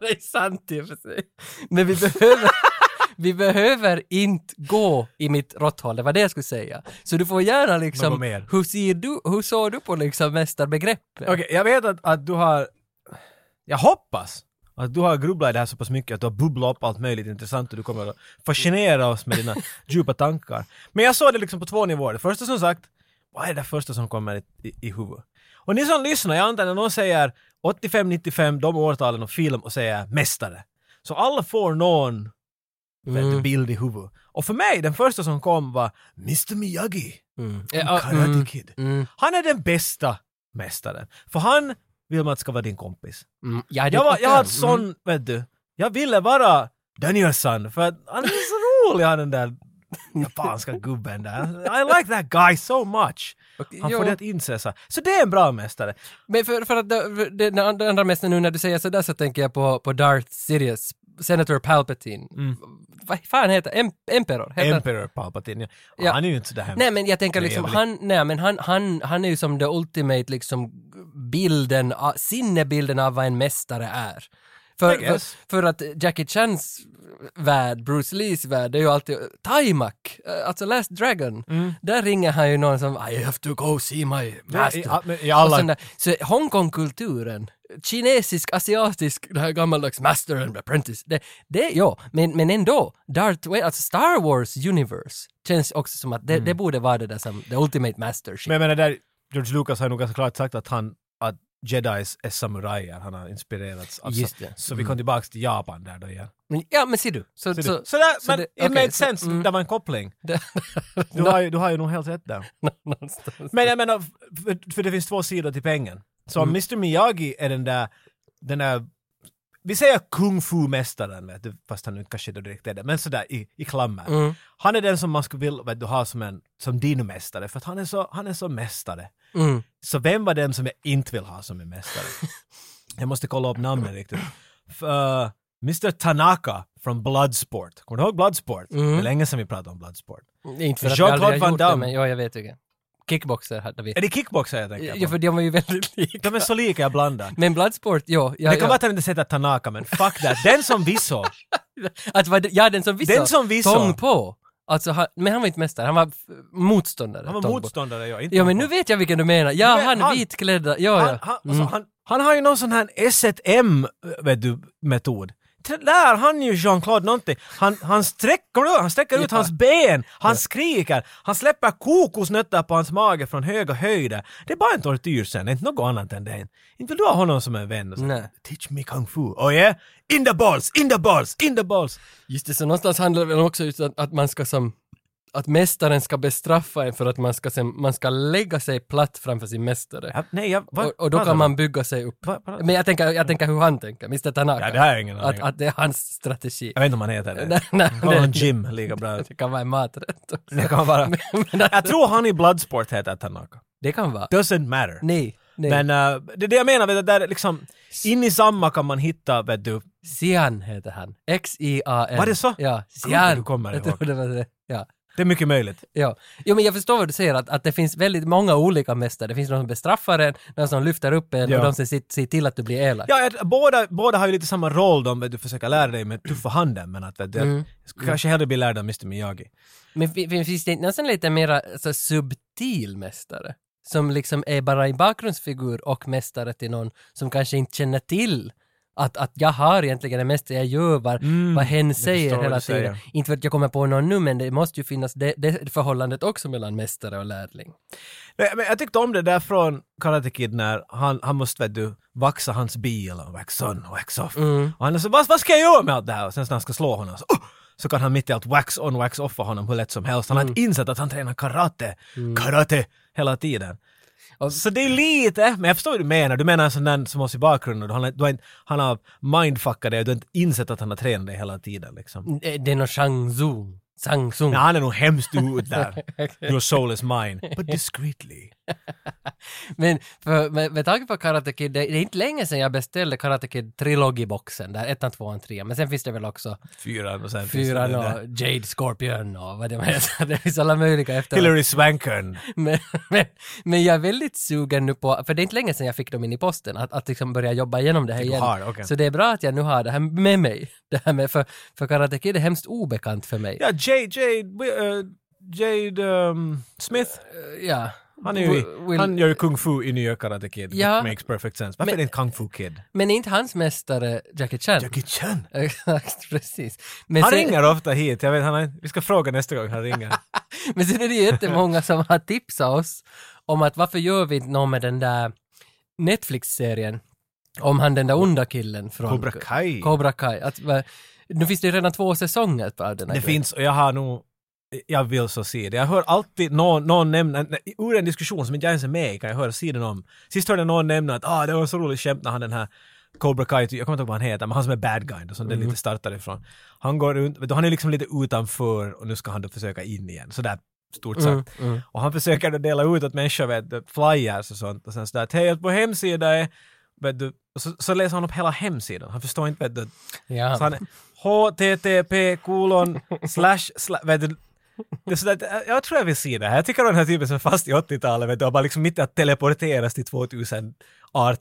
Speaker 1: det är sant i och för sig. Men vi behöver... Vi behöver inte gå i mitt råtthål, det var det jag skulle säga. Så du får gärna
Speaker 2: Något
Speaker 1: liksom,
Speaker 2: mer?
Speaker 1: hur, ser du, hur såg du på liksom mästarbegreppet?
Speaker 2: Okej, jag vet att, att du har... Jag hoppas att du har grubblat i det här så pass mycket att du har bubblat upp allt möjligt intressant och du kommer att fascinera oss med dina djupa tankar. Men jag såg det liksom på två nivåer. Det första som sagt, vad är det första som kommer i, i, i huvudet? Och ni som lyssnar, jag antar när någon säger 85, 95, de årtalen och film och säger mästare. Så alla får någon vet du,
Speaker 1: Mm.
Speaker 2: bild i huvudet. Och för mig, den första som kom var Mr Miyagi,
Speaker 1: Ja,
Speaker 2: mm. Karate Kid.
Speaker 1: mm,
Speaker 2: Han är den bästa mästaren. För han vill man ska vara din kompis.
Speaker 1: mm. Ja, det-
Speaker 2: Jag, var, jag har ett
Speaker 1: Mm.
Speaker 2: sån, vet du, jag ville vara Danielsson för att han är så rolig han den där japanska gubben där. I like that guy so much.
Speaker 1: Okej,
Speaker 2: Han
Speaker 1: jo.
Speaker 2: får det att inse så. här. Så det är en bra mästare.
Speaker 1: Men för, för att det, för det, den andra- andra mästaren nu när du säger sådär så tänker jag på, på Darth Sidious, Senator Palpatine.
Speaker 2: Mm.
Speaker 1: Vad fan heter Em, Emperor? Heter han-
Speaker 2: Emperor Palpatine. Ja.
Speaker 1: Ja.
Speaker 2: Han är ju inte så där hemsk.
Speaker 1: Nej men jag tänker
Speaker 2: Det är
Speaker 1: liksom,
Speaker 2: väl-
Speaker 1: han, nej, men han, han, han är ju som the ultimate liksom bilden, av- sinnebilden av vad en mästare är. För,
Speaker 2: I
Speaker 1: för,
Speaker 2: guess.
Speaker 1: för att Jackie Chans värld, Bruce Lees värld, det är ju alltid Taimak, eh, alltså Last Dragon.
Speaker 2: Mm.
Speaker 1: Där ringer han ju någon som I have to go see my master.
Speaker 2: i- men i alla-
Speaker 1: Och sen där, så Hongkongkulturen, kinesisk, asiatisk, det här gammaldags master and apprentice, det, det ja, men, men ändå, Darth Vader, alltså Star Wars universe, känns också som att det,
Speaker 2: Mm.
Speaker 1: det borde vara det där som the ultimate master
Speaker 2: Men jag menar där, George Lucas har nog ganska klart sagt att han, att jedis är samurajer. Han har inspirerats av.
Speaker 1: Just det. Mm.
Speaker 2: Så vi kom tillbaka till Japan där då igen.
Speaker 1: Men, ja, men ser du. Så,
Speaker 2: Så,
Speaker 1: så,
Speaker 2: du, så där,
Speaker 1: så
Speaker 2: men
Speaker 1: det-
Speaker 2: it
Speaker 1: okej,
Speaker 2: made
Speaker 1: så-
Speaker 2: sense.
Speaker 1: mm.
Speaker 2: Det var en koppling.
Speaker 1: det-
Speaker 2: Du har, ju, du har ju nog helt rätt där.
Speaker 1: någonstans.
Speaker 2: Men jag menar, för, för det finns två sidor till pengen. Så om Mr Miyagi är den där, den där vi säger kung fu-mästaren, vet du, fast han nu kanske inte direkt är det, men sådär i, i klammer.
Speaker 1: Mm.
Speaker 2: Han är den som man skulle vilja vet du, ha som, en, som din mästare, för att han är, så, han är så mästare.
Speaker 1: Mm.
Speaker 2: Så vem var den som jag inte vill ha som en mästare? jag måste kolla upp namnet riktigt. För, Mr Tanaka från Bloodsport. Kommer du ihåg Bloodsport?
Speaker 1: Mm.
Speaker 2: Det är länge sedan vi pratade om Bloodsport.
Speaker 1: Inte för att jag
Speaker 2: Jean-Claude
Speaker 1: aldrig har
Speaker 2: Van
Speaker 1: gjort det,
Speaker 2: Damme.
Speaker 1: men ja, jag vet ju det. Kickboxer hade vi.
Speaker 2: Är det kickboxare jag tänker
Speaker 1: Ja,
Speaker 2: på?
Speaker 1: för de var ju väldigt lika.
Speaker 2: De är så lika jag blandar.
Speaker 1: Men Bloodsport, ja. ja,
Speaker 2: det kan
Speaker 1: ja.
Speaker 2: vara att han inte sätter Tanaka, men fuck that. Den som vi såg.
Speaker 1: Att var, ja, den som vi sa.
Speaker 2: Den som vi sa.
Speaker 1: Tong på. Alltså, han, men han var inte mästare, han var f- motståndare.
Speaker 2: Han var
Speaker 1: Tong Po.
Speaker 2: motståndare, jag. Inte
Speaker 1: Ja, men nu vet jag vilken du menar. Ja,
Speaker 2: Du vet,
Speaker 1: han,
Speaker 2: han-
Speaker 1: vitklädda. Ja, Mm.
Speaker 2: han,
Speaker 1: ja.
Speaker 2: han, alltså, han, han har ju någon sån här S1M, eh, vet du, metod. T- Där han ju Jean-Claude någonting. Han, han, sträcker, kommer du ihåg? han sträcker ut
Speaker 1: Ja.
Speaker 2: hans ben, han skriker, han släpper kokosnötter på hans mage från höga höjder. Det är bara en tortyr sen, inte något annat än det. Inte vill du ha honom som en vän? Och så,
Speaker 1: Mm, Nej.
Speaker 2: Teach me kung fu. Oh yeah? In the balls, in the balls, in the balls.
Speaker 1: Just det, så någonstans handlar det väl också om att, att man ska som att mästaren ska bestraffa en för att man ska, sen, man ska lägga sig platt framför sin mästare.
Speaker 2: Ja, nej, jag, vad-
Speaker 1: och, och då
Speaker 2: vad
Speaker 1: kan
Speaker 2: sa
Speaker 1: man
Speaker 2: du?
Speaker 1: bygga sig upp.
Speaker 2: Vad- vad-
Speaker 1: Men jag tänker, jag tänker hur han tänker, Mr Tanaka.
Speaker 2: Ja, det har jag ingen
Speaker 1: att,
Speaker 2: aning om.
Speaker 1: att det är hans strategi.
Speaker 2: Jag vet inte om han heter det.
Speaker 1: Nej, nej,
Speaker 2: Kolla
Speaker 1: det-
Speaker 2: om Jim lika bra.
Speaker 1: Det kan vara en maträtt också.
Speaker 2: Det kan vara.
Speaker 1: Men att-
Speaker 2: Jag tror han i Bloodsport heter Tanaka.
Speaker 1: Det kan vara.
Speaker 2: Doesn't matter.
Speaker 1: Nej, nej.
Speaker 2: Men eh, det är det jag menar, vet du, där är liksom, in i samma kan man hitta, vet du,
Speaker 1: Sian heter han. X-I-A-N.
Speaker 2: Var det så?
Speaker 1: Ja,
Speaker 2: Gud,
Speaker 1: Sian.
Speaker 2: du kommer
Speaker 1: jag
Speaker 2: ihåg.
Speaker 1: tror det var det. Ja.
Speaker 2: det är mycket möjligt.
Speaker 1: Ja. Jo, men jag förstår vad du säger, att, att det finns väldigt många olika mästare. Det finns de som bestraffar en, de som lyfter upp en
Speaker 2: Ja.
Speaker 1: och de som ser, ser till att du blir elak.
Speaker 2: Ja, jag- båda, båda har ju lite samma roll, de vet du, försöker lära dig med tuffa handen, men att vet du,
Speaker 1: Mm.
Speaker 2: jag skulle kanske hellre bli lärd av Mr Miyagi.
Speaker 1: Men fi- fi- finns det inte nästan lite mer så, subtil mästare? Som liksom är bara en bakgrundsfigur och mästare till någon som kanske inte känner till att, att jag har egentligen det mesta jag gör, vad, vad hen säger
Speaker 2: Mm. förstår vad
Speaker 1: hela
Speaker 2: du
Speaker 1: tiden.
Speaker 2: säger.
Speaker 1: Inte för att jag kommer på någon nu, men det måste ju finnas det, det förhållandet också mellan mästare och lärling.
Speaker 2: Nej, men jag tyckte om det där från Karate Kid när han, han måste, vet du, vaxa hans bil och wax on och wax off. Och han är så, vad, vad ska jag göra med allt det här? Och sen när han ska slå honom så, "Oh!" så kan han mitt i allt wax on, wax offa honom hur lätt som helst. Han har inte insett att han tränar karate, karate hela tiden.
Speaker 1: Och-
Speaker 2: Så det är lite, men jag förstår vad du menar. Du menar en sån där som oss i bakgrunden. Han, har- du har, inte- han har mindfuckat dig och du har inte insett att han har tränat dig hela tiden liksom.
Speaker 1: Det det är någon Shang Tsung. Shang Tsung.
Speaker 2: Nej, han är nog hemskt ut där. Your soul is mine, but discreetly.
Speaker 1: Men för, med, med tanke på Karate Kid, det, det är inte länge sedan jag beställde Karate Kid trilogiboxen där, ettan, tvåan, trean. Men sen finns det väl också
Speaker 2: Fyran och sen finns det
Speaker 1: fyran
Speaker 2: den där.
Speaker 1: och Jade Scorpion och vad det var. Så Det finns alla möjliga efter.
Speaker 2: Hillary Swankern.
Speaker 1: Men, men, men jag är väldigt sugen nu på, för det är inte länge sedan jag fick dem in i posten, att, att liksom börja jobba igenom det här
Speaker 2: Du
Speaker 1: igen.
Speaker 2: har, Typ okej.
Speaker 1: Så det är bra att jag nu har det här med mig. Det här med, för, för Karate Kid är hemskt obekant för mig.
Speaker 2: Ja, Jade, Jade, eh, Jade ehm, Smith.
Speaker 1: Ja.
Speaker 2: Han, är ju, i-
Speaker 1: Will-
Speaker 2: han gör ju Kung Fu i nya Karate Kid. which
Speaker 1: Ja.
Speaker 2: Makes perfect sense. Varför
Speaker 1: Men-
Speaker 2: är det inte Kung Fu Kid?
Speaker 1: Men inte hans mästare Jackie Chan.
Speaker 2: Jackie Chan.
Speaker 1: Exakt, precis. Men
Speaker 2: Han
Speaker 1: sen-
Speaker 2: ringer ofta hit. Jag vet, han har, vi ska fråga nästa gång han ringer.
Speaker 1: Men sen är det ju jättemånga som har tipsat oss om att varför gör vi inte något med den där Netflix-serien om han den där onda killen från
Speaker 2: Cobra Kai.
Speaker 1: Cobra Kai. Att, va, nu finns det ju redan två säsonger på den här
Speaker 2: Det
Speaker 1: grejen.
Speaker 2: finns, och jag har nog... Jag vill så se det. Jag hör alltid någon, någon nämna, ur en diskussion som inte jag ens är med i kan jag höra sidan om. Sist hörde jag någon nämna att ah, det var en så rolig skämt när han den här Cobra Kai, jag kommer inte ihåg vad han heter, men han som är bad guy, då, som den lite startar ifrån. Han går runt, vet du, han är liksom lite utanför och nu ska han då försöka in igen. Sådär stort sagt.
Speaker 1: Mm.
Speaker 2: Och han försöker då dela ut åt människor, vet du, flyers och sånt. Och sen sådär att hej, att vår hemsida är... Vet du, och så, så läser han upp hela hemsidan. Han förstår inte, vet du,
Speaker 1: Ja.
Speaker 2: så han är http kolon slash slash, vet du, det är sådär, att- jag tror jag vill se det här. Jag tycker om den här typen som är fast i 80-talet, vet du, och bara liksom mitt i att teleporteras till 2018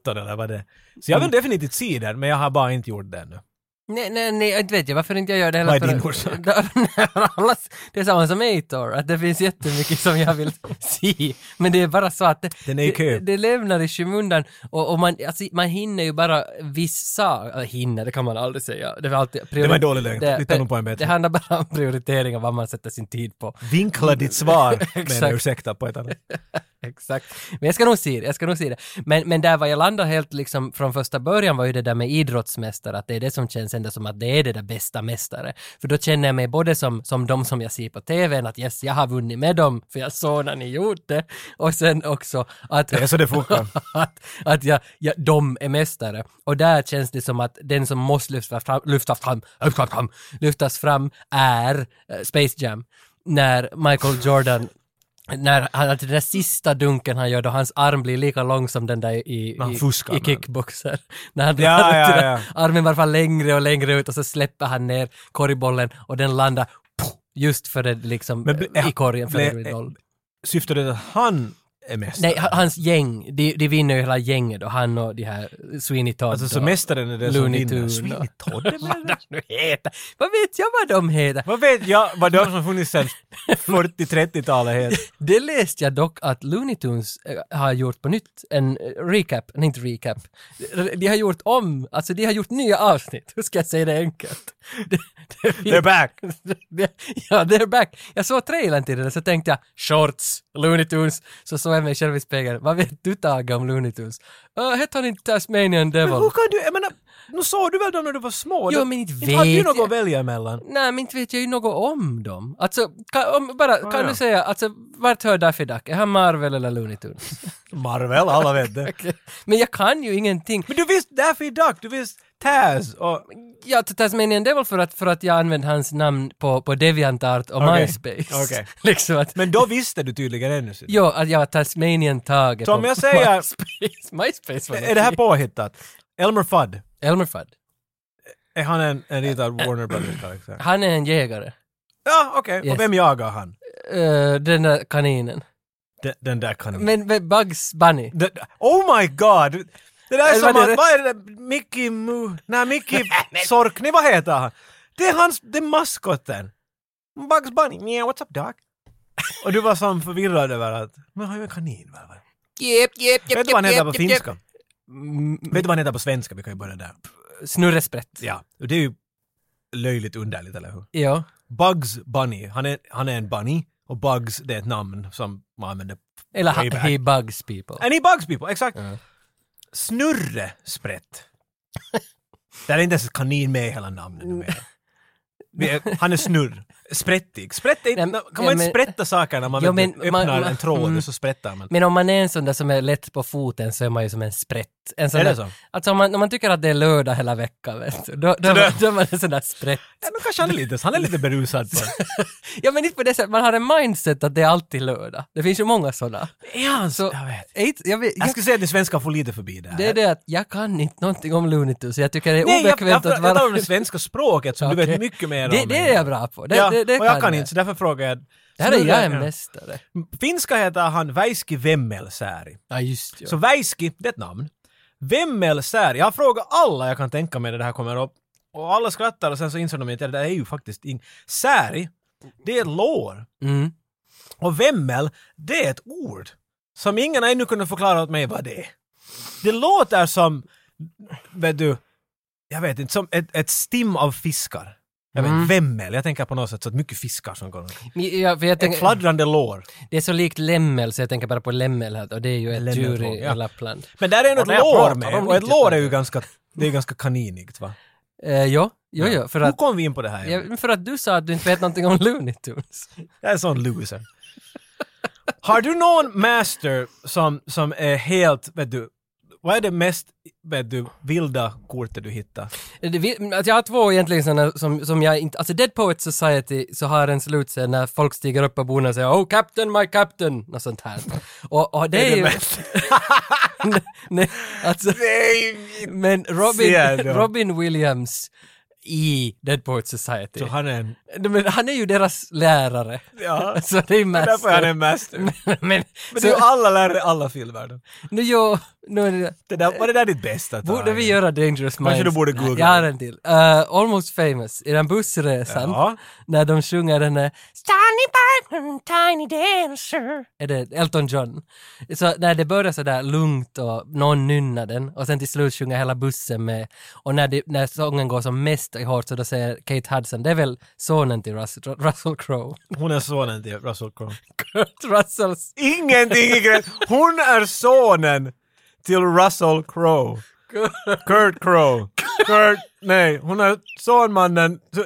Speaker 2: eller vad det är. Så
Speaker 1: Mm.
Speaker 2: jag vill definitivt se den, men jag har bara inte gjort det ännu.
Speaker 1: Nej, nej, nej, inte vet jag varför inte jag gör det heller.
Speaker 2: Vad är
Speaker 1: för-
Speaker 2: din orsak?
Speaker 1: Nej, för alla- det är samma som Eitor, att det finns jättemycket som jag vill se. Men det är bara så att det,
Speaker 2: Den är i kö.
Speaker 1: det, det lämnar i skymundan och, och man, alltså, man hinner ju bara vissa, äh, hinner, det kan man aldrig säga. Det var alltid priori-
Speaker 2: Det var en dålig lögn. Vi tar nog på en bättre.
Speaker 1: Det handlar bara om prioriteringar, vad man sätter sin tid på.
Speaker 2: Vinkla ditt svar med en
Speaker 1: Exakt.
Speaker 2: ursäkta på ett annat.
Speaker 1: Exakt. Men jag ska nog se det, jag ska nog se det. Men, men där var jag landade helt liksom från första början var ju det där med idrottsmästare, att det är det som känns ändå som att det är det där bästa mästare. För då känner jag mig både som, som de som jag ser på TVn, att yes, jag har vunnit med dem, för jag såg när ni gjorde det. Och sen också att...
Speaker 2: Det är så det funkar.
Speaker 1: att att jag, jag, de är mästare. Och där känns det som att den som måste lyftas fram, lyftas fram, lyftas fram, lyftas fram är eh, Space Jam. När Michael Jordan när han, att den där sista dunken han gör då hans arm blir lika lång som den där i,
Speaker 2: Men han
Speaker 1: i,
Speaker 2: fuskar
Speaker 1: i
Speaker 2: med
Speaker 1: kickboxer. När han
Speaker 2: Ja,
Speaker 1: han-
Speaker 2: ja,
Speaker 1: den
Speaker 2: ja.
Speaker 1: Armen var bara längre och längre ut och så släpper han ner korgbollen och den landar poff, just för det liksom
Speaker 2: Men bli-
Speaker 1: i korgen för
Speaker 2: bli-
Speaker 1: det blir noll.
Speaker 2: Syftar det att han är mästare?
Speaker 1: Nej, ha- hans gäng, de, de vinner ju hela gänget och han och de här Sweeney Todd.
Speaker 2: Alltså så
Speaker 1: och-
Speaker 2: mästaren är den som
Speaker 1: Looney
Speaker 2: vinner.
Speaker 1: Tune.
Speaker 2: Sweeney Todd är
Speaker 1: vad
Speaker 2: mästare.
Speaker 1: de nu heter. Vad vet jag vad de heter?
Speaker 2: Vad vet jag vad de som funnits sedan 40-30-talet heter?
Speaker 1: Det läste jag dock att Looney Tunes eh, har gjort på nytt en eh, recap, nej inte recap. De- De har gjort om, alltså de har gjort nya avsnitt. Hur ska jag säga det enkelt? Det- det-
Speaker 2: They're back!
Speaker 1: Det- ja, they're back. Jag såg trailern till det så tänkte jag shorts, Looney Tunes. Så såg jag mig själv i spegeln. Vad vet du Tage om Looney Tunes? Uh, Hette han inte Tasmanian
Speaker 2: Men
Speaker 1: Devil?
Speaker 2: hur kan du, jag menar, nu såg du väl dem när du var små?
Speaker 1: Jo,
Speaker 2: Du-
Speaker 1: men inte
Speaker 2: hade
Speaker 1: vet
Speaker 2: du något
Speaker 1: jag.
Speaker 2: att välja emellan.
Speaker 1: Nej, men inte vet jag ju något om dem. Alltså, kan, om, bara, kan
Speaker 2: Ah, ja.
Speaker 1: du säga, alltså, vart hör Daffy Duck? Är han Marvel eller Looney Tunes?
Speaker 2: Marvel, alla vet det.
Speaker 1: Okej. men jag kan ju ingenting.
Speaker 2: Men du visste Daffy Duck, du visste Taz och...
Speaker 1: Jag tar alltså, Tasmanian Devil för att, för att jag använde hans namn på, på Deviantart och
Speaker 2: Okej.
Speaker 1: MySpace.
Speaker 2: Okej.
Speaker 1: liksom att,
Speaker 2: Men då visste du tydligen ännu. Sid.
Speaker 1: jo, att jag var Tasmanian Tage
Speaker 2: Som
Speaker 1: på
Speaker 2: jag säger-
Speaker 1: MySpace. MySpace var
Speaker 2: Är det här
Speaker 1: något.
Speaker 2: påhittat? Elmer Fudd,
Speaker 1: Elmer Fudd.
Speaker 2: är han en, en ritad Warner Brothers-karaktär?
Speaker 1: Han är en jägare.
Speaker 2: Ja, okej.
Speaker 1: Yes.
Speaker 2: Och vem jagar han?
Speaker 1: Eh, den där kaninen.
Speaker 2: Den, den där kaninen.
Speaker 1: Men, men Bugs Bunny.
Speaker 2: Den- Oh my god! Det där är
Speaker 1: Eller var
Speaker 2: som
Speaker 1: det
Speaker 2: att,
Speaker 1: rätt?
Speaker 2: vad är det där? Mickey Mu... Nej, Mickey Sorkney, vad heter han? Det är hans, det är maskoten. Bugs Bunny, yeah, what's up doc? Och du var som förvirrad över att, men han är ju en kanin väl? va?
Speaker 1: Jep, jep, jep,
Speaker 2: Vet du vad
Speaker 1: jep,
Speaker 2: han heter på
Speaker 1: jep, jep,
Speaker 2: finska?
Speaker 1: Mm,
Speaker 2: Vet du vad han heter på svenska? Vi kan ju börja där.
Speaker 1: Snurresprätt.
Speaker 2: Ja, och det är ju löjligt underligt, eller hur?
Speaker 1: Ja.
Speaker 2: Bugs Bunny, han är, han är en bunny och Bugs det är ett namn som man använder.
Speaker 1: Eller
Speaker 2: Way
Speaker 1: ha-
Speaker 2: back.
Speaker 1: Hey Bugs People.
Speaker 2: And he bugs people, exakt.
Speaker 1: Ja.
Speaker 2: Snurresprätt. Där är inte ens kanin med i hela namnet
Speaker 1: Mm.
Speaker 2: numera. Vi är- Han är snurr. Sprättig. Sprätt är, inte-
Speaker 1: Nej, men-
Speaker 2: kan man
Speaker 1: ja,
Speaker 2: inte
Speaker 1: men-
Speaker 2: sprätta saker när man
Speaker 1: Ja,
Speaker 2: vet,
Speaker 1: men
Speaker 2: öppnar
Speaker 1: man- man-
Speaker 2: en tråd
Speaker 1: mm.
Speaker 2: och så sprättar man?
Speaker 1: Men om man är en sån där som är lätt på foten så är man ju som en sprätt. En sån
Speaker 2: Är det
Speaker 1: där,
Speaker 2: så?
Speaker 1: Alltså om man, om man tycker att det är lördag hela veckan, vet du, då, då, är man- då är man en sån där sprätt.
Speaker 2: Ja, men kanske han är lite, han är lite berusad. På.
Speaker 1: Ja men inte på det sättet, man har en mindset att det är alltid lördag. Det finns ju många såna.
Speaker 2: är han så?
Speaker 1: Så,
Speaker 2: Jag vet.
Speaker 1: Inte- jag vet,
Speaker 2: Jag
Speaker 1: jag,
Speaker 2: skulle säga att ni svenskar får lite förbi det här.
Speaker 1: det är det att jag kan inte någonting om Looney Tunes, så jag tycker det är
Speaker 2: Nej, jag, jag,
Speaker 1: obekvämt
Speaker 2: jag,
Speaker 1: att
Speaker 2: jag
Speaker 1: vara...
Speaker 2: talar om det svenska språket som du
Speaker 1: Okej.
Speaker 2: vet mycket mer
Speaker 1: det,
Speaker 2: om.
Speaker 1: det
Speaker 2: än
Speaker 1: är jag bra på. Det,
Speaker 2: ja,
Speaker 1: det, det
Speaker 2: och jag kan
Speaker 1: jag.
Speaker 2: inte, så därför frågar jag.
Speaker 1: Där är jag en
Speaker 2: Snurrar-
Speaker 1: mästare.
Speaker 2: Finska heter han Väiski Vemmelsääri.
Speaker 1: Ja just ja.
Speaker 2: Så Väiski, det är ett namn. Vemmelsääri, jag har frågat alla jag kan tänka mig när det här kommer upp. Och alla skrattar och sen så inser de att det där är ju faktiskt ing... Sääri, det är lår.
Speaker 1: Mm.
Speaker 2: Och vemmel, det är ett ord som ingen ännu kunde förklara åt mig vad det är. Det låter som, vet du, jag vet inte, som ett, ett stim av fiskar. Jag vet, vemmel, jag tänker på något sätt så att mycket fiskar som går omkring.
Speaker 1: Men Ja, för jag
Speaker 2: Ett
Speaker 1: tänker,
Speaker 2: fladdrande lår.
Speaker 1: det är så likt lämmel så jag tänker bara på lämmel här och det är ju ett
Speaker 2: Lämmeltåg,
Speaker 1: djur i
Speaker 2: ja.
Speaker 1: Lappland.
Speaker 2: Men där är ändå
Speaker 1: Och när
Speaker 2: ett
Speaker 1: jag
Speaker 2: lår
Speaker 1: pratar
Speaker 2: med,
Speaker 1: om
Speaker 2: och ett
Speaker 1: riktigt
Speaker 2: lår är ju
Speaker 1: lår.
Speaker 2: ganska, det är ganska kaninigt va?
Speaker 1: Eh, ja, jo, jo, för
Speaker 2: Hur
Speaker 1: att
Speaker 2: kom vi in på det här?
Speaker 1: Ja, men för att du sa att du inte vet någonting om Looney Tunes.
Speaker 2: Jag är en sån loser. Har du någon master som, som är helt, vet du, vad är det mest, vet du, vilda kortet du hittar?
Speaker 1: Det vi- Att jag har två egentligen såna som, som jag inte... Alltså Dead Poets Society så har en slutscen när folk stiger upp på borden och säger Oh Captain, my Captain! Något sånt här. Och, och det är ju... nej, nej, alltså, men
Speaker 2: Ser
Speaker 1: Robin,
Speaker 2: du?
Speaker 1: Robin Williams i Dead Poets Society.
Speaker 2: Så han är en...
Speaker 1: Men han är ju deras lärare.
Speaker 2: Ja,
Speaker 1: Så det är
Speaker 2: därför är han
Speaker 1: master.
Speaker 2: en master. Men
Speaker 1: Men,
Speaker 2: det är ju
Speaker 1: så,
Speaker 2: alla lärare i alla filmvärlden.
Speaker 1: nu, jo, nu är det...
Speaker 2: Det där, var det där ditt bästa?
Speaker 1: Borde
Speaker 2: Tage?
Speaker 1: vi göra Dangerous Minds?
Speaker 2: Kanske du borde
Speaker 1: Nej,
Speaker 2: googla
Speaker 1: Jag har
Speaker 2: det.
Speaker 1: en till. Eh, Almost famous, i den bussresan,
Speaker 2: Ja.
Speaker 1: när de sjunger den här Tiny Barton, Tiny Dancer. Är det Elton John? Så när det börjar sådär lugnt och någon nynnar den och sen till slut sjunger hela bussen med och när, det, när sången går som mest i hårt så då säger Kate Hudson, det är väl så sonen till Rus- Ru- Russell Crowe.
Speaker 2: Hon är sonen till Russell Crowe.
Speaker 1: Kurt Russells...
Speaker 2: Ingenting i gräns. Hon är sonen till Russell Crowe. Kurt Crowe. Kurt, nej, hon är sonmannen. Så,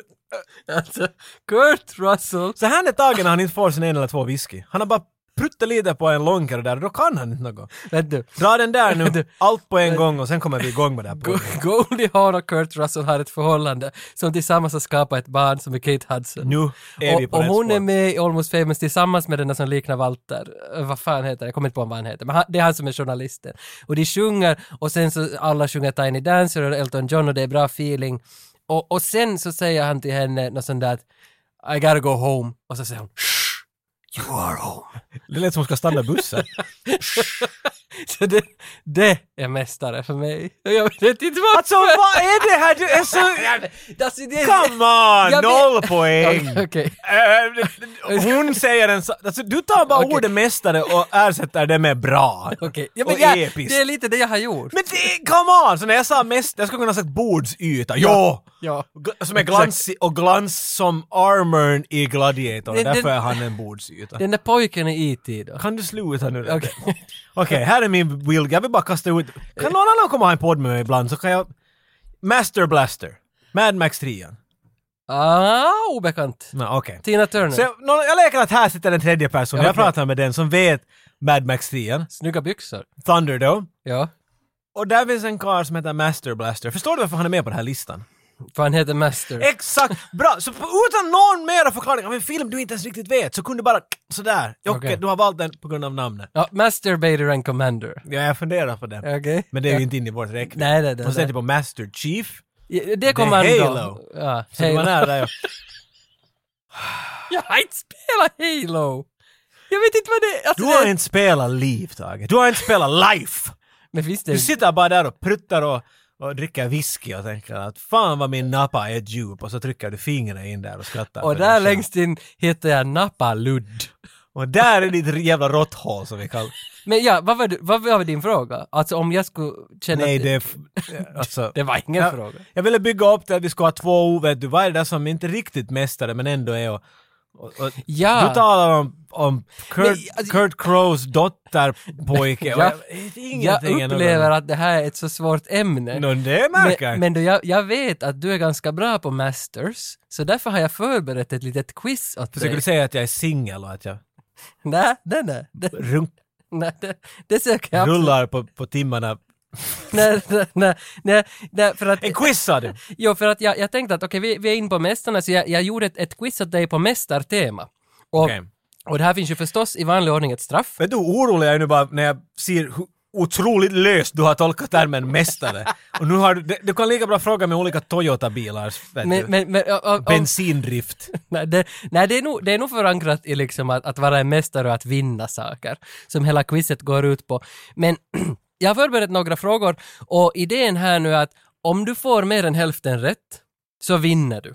Speaker 1: Alltså, Kurt Russell...
Speaker 2: så här är tagen när han inte får sin en eller två whisky. Han har bara pruttelite på en långkare där, då kan han inte något.
Speaker 1: Vet du?
Speaker 2: Dra den där nu, allt på en gång och sen kommer vi igång med det här.
Speaker 1: Go-
Speaker 2: programmet.
Speaker 1: Goldie Hawn och Kurt Russell har ett förhållande som tillsammans har skapat ett barn som är Kate Hudson.
Speaker 2: Nu är vi på
Speaker 1: och, och
Speaker 2: rätt
Speaker 1: hon
Speaker 2: spår.
Speaker 1: är med i Almost famous tillsammans med den där som liknar Walter. Eh, Vad fan heter han? Jag kommer inte på vad han heter. Men han, det är han som är journalisten. Och de sjunger och sen så alla sjunger Tiny Dancer och Elton John och det är bra feeling. Och, och sen så säger han till henne något sånt där att, I gotta go home. Och så säger hon Shh, you are home.
Speaker 2: Det lät som hon ska stanna bussen.
Speaker 1: Så det, det är mästare för mig. Jag vet inte vad...
Speaker 2: alltså vad är det här? Du är så...
Speaker 1: Alltså, det,
Speaker 2: Come
Speaker 1: Jag
Speaker 2: on!
Speaker 1: vet-
Speaker 2: Noll poäng!
Speaker 1: Okej. okej.
Speaker 2: Eh, Hon säger en sa- alltså, Du tar bara
Speaker 1: Okej.
Speaker 2: ordet mästare och ersätter det med bra.
Speaker 1: Okej, ja,
Speaker 2: Och
Speaker 1: men jag,
Speaker 2: episkt.
Speaker 1: det är lite det jag har gjort.
Speaker 2: Men det, come on! Så när jag sa mästare, jag skulle kunna ha sagt bordsyta. Ja!
Speaker 1: ja.
Speaker 2: G- Som är glansig och glans som armorn i Gladiator.
Speaker 1: Det- det-
Speaker 2: Därför är han en bordsyta.
Speaker 1: Den där pojken i IT då.
Speaker 2: Kan du sluta nu? Okej,
Speaker 1: Okej.
Speaker 2: här är min will. Jag vill bara kasta ut... Kan någon annan komma och ha en podd med mig ibland så kan jag... Master Blaster. Mad Max 3.
Speaker 1: Ah, obekant.
Speaker 2: Nå, Okej.
Speaker 1: Tina Turner.
Speaker 2: Så jag, någon, jag leker att här sitter en tredje person. Jag
Speaker 1: Okej.
Speaker 2: pratar med den som vet Mad Max 3.
Speaker 1: Snygga byxor.
Speaker 2: Thunder då.
Speaker 1: Ja.
Speaker 2: Och där finns en karl som heter Master Blaster. Förstår du varför han är med på den här listan?
Speaker 1: För han heter Master.
Speaker 2: Exakt! Bra! Så på- utan någon mera förklaring av en film du inte ens riktigt vet så kunde du bara sådär. Jocke,
Speaker 1: Okej.
Speaker 2: du har valt den på grund av namnet.
Speaker 1: ja, Masturbator and Commander.
Speaker 2: Ja, jag funderar på den.
Speaker 1: Okej?
Speaker 2: Men det är
Speaker 1: ja.
Speaker 2: ju inte inne i vårt räkning.
Speaker 1: Nej, nej, nej.
Speaker 2: Och sen
Speaker 1: nej.
Speaker 2: typ på Master Chief.
Speaker 1: Ja, det kommer
Speaker 2: det är
Speaker 1: han
Speaker 2: Halo.
Speaker 1: då. Ja,
Speaker 2: Så det var
Speaker 1: Halo.
Speaker 2: nära. ja.
Speaker 1: Jag har inte spelat Halo! Jag vet inte vad det är. Alltså,
Speaker 2: Du har
Speaker 1: det...
Speaker 2: inte spelat liv, Tage. Du har inte spelat life!
Speaker 1: Men visst det
Speaker 2: Du
Speaker 1: är...
Speaker 2: sitter bara där och pruttar och, och dricker whisky och tänker att fan vad min nappa är djup och så trycker du fingrarna in där och skrattar.
Speaker 1: Och
Speaker 2: för dig
Speaker 1: där
Speaker 2: själv.
Speaker 1: längst in heter jag Napaludd.
Speaker 2: Och där är ditt jävla råtthål som vi kallar
Speaker 1: Men ja, vad var, du, vad var din fråga? Alltså om jag skulle känna...
Speaker 2: Nej,
Speaker 1: att-
Speaker 2: det är... f- Alltså,
Speaker 1: det var ingen
Speaker 2: jag,
Speaker 1: fråga.
Speaker 2: Jag ville bygga upp det att vi ska ha två O, vet du. Vad är det där som inte riktigt mästare men ändå är och, och, och
Speaker 1: Ja.
Speaker 2: Du talar om, om Kurt,
Speaker 1: Men, alltså-
Speaker 2: Kurt Crowes dotterpojke. och
Speaker 1: Ja.
Speaker 2: jag vet
Speaker 1: Jag
Speaker 2: ingenting än om
Speaker 1: upplever
Speaker 2: det.
Speaker 1: att det här är ett så svårt ämne.
Speaker 2: Nå, det märker
Speaker 1: Men, men du, jag, jag vet att du är ganska bra på masters, så därför har jag förberett ett litet quiz åt
Speaker 2: Försöker
Speaker 1: dig.
Speaker 2: du säga att jag är singel och att jag
Speaker 1: Nej, nej, nej. Det,
Speaker 2: runk,
Speaker 1: nej, det, det söker jag absolut.
Speaker 2: rullar på, på timmarna?
Speaker 1: Nej, nej, nej, nej, nej, för att,
Speaker 2: En quiz sa du!
Speaker 1: jo, för att jag, jag tänkte att okej, vi, vi är inne på mästarna, så jag, jag gjorde ett, ett quiz åt dig på mästartema. Och,
Speaker 2: Okej.
Speaker 1: och det här finns ju förstås i vanlig ordning ett straff.
Speaker 2: Vet du hur orolig jag är nu bara när jag ser hur otroligt löst du har tolkat termen mästare. Och nu har du, det- du kan lika bra fråga med olika Toyota-bilar, vet
Speaker 1: Men,
Speaker 2: du.
Speaker 1: men, men, och, och, och,
Speaker 2: Bensindrift.
Speaker 1: nej, det, nej det, är nog, det är nog förankrat i liksom att, att vara en mästare och att vinna saker, som hela quizet går ut på. Men jag har förberett några frågor och idén här nu är att om du får mer än hälften rätt så vinner du.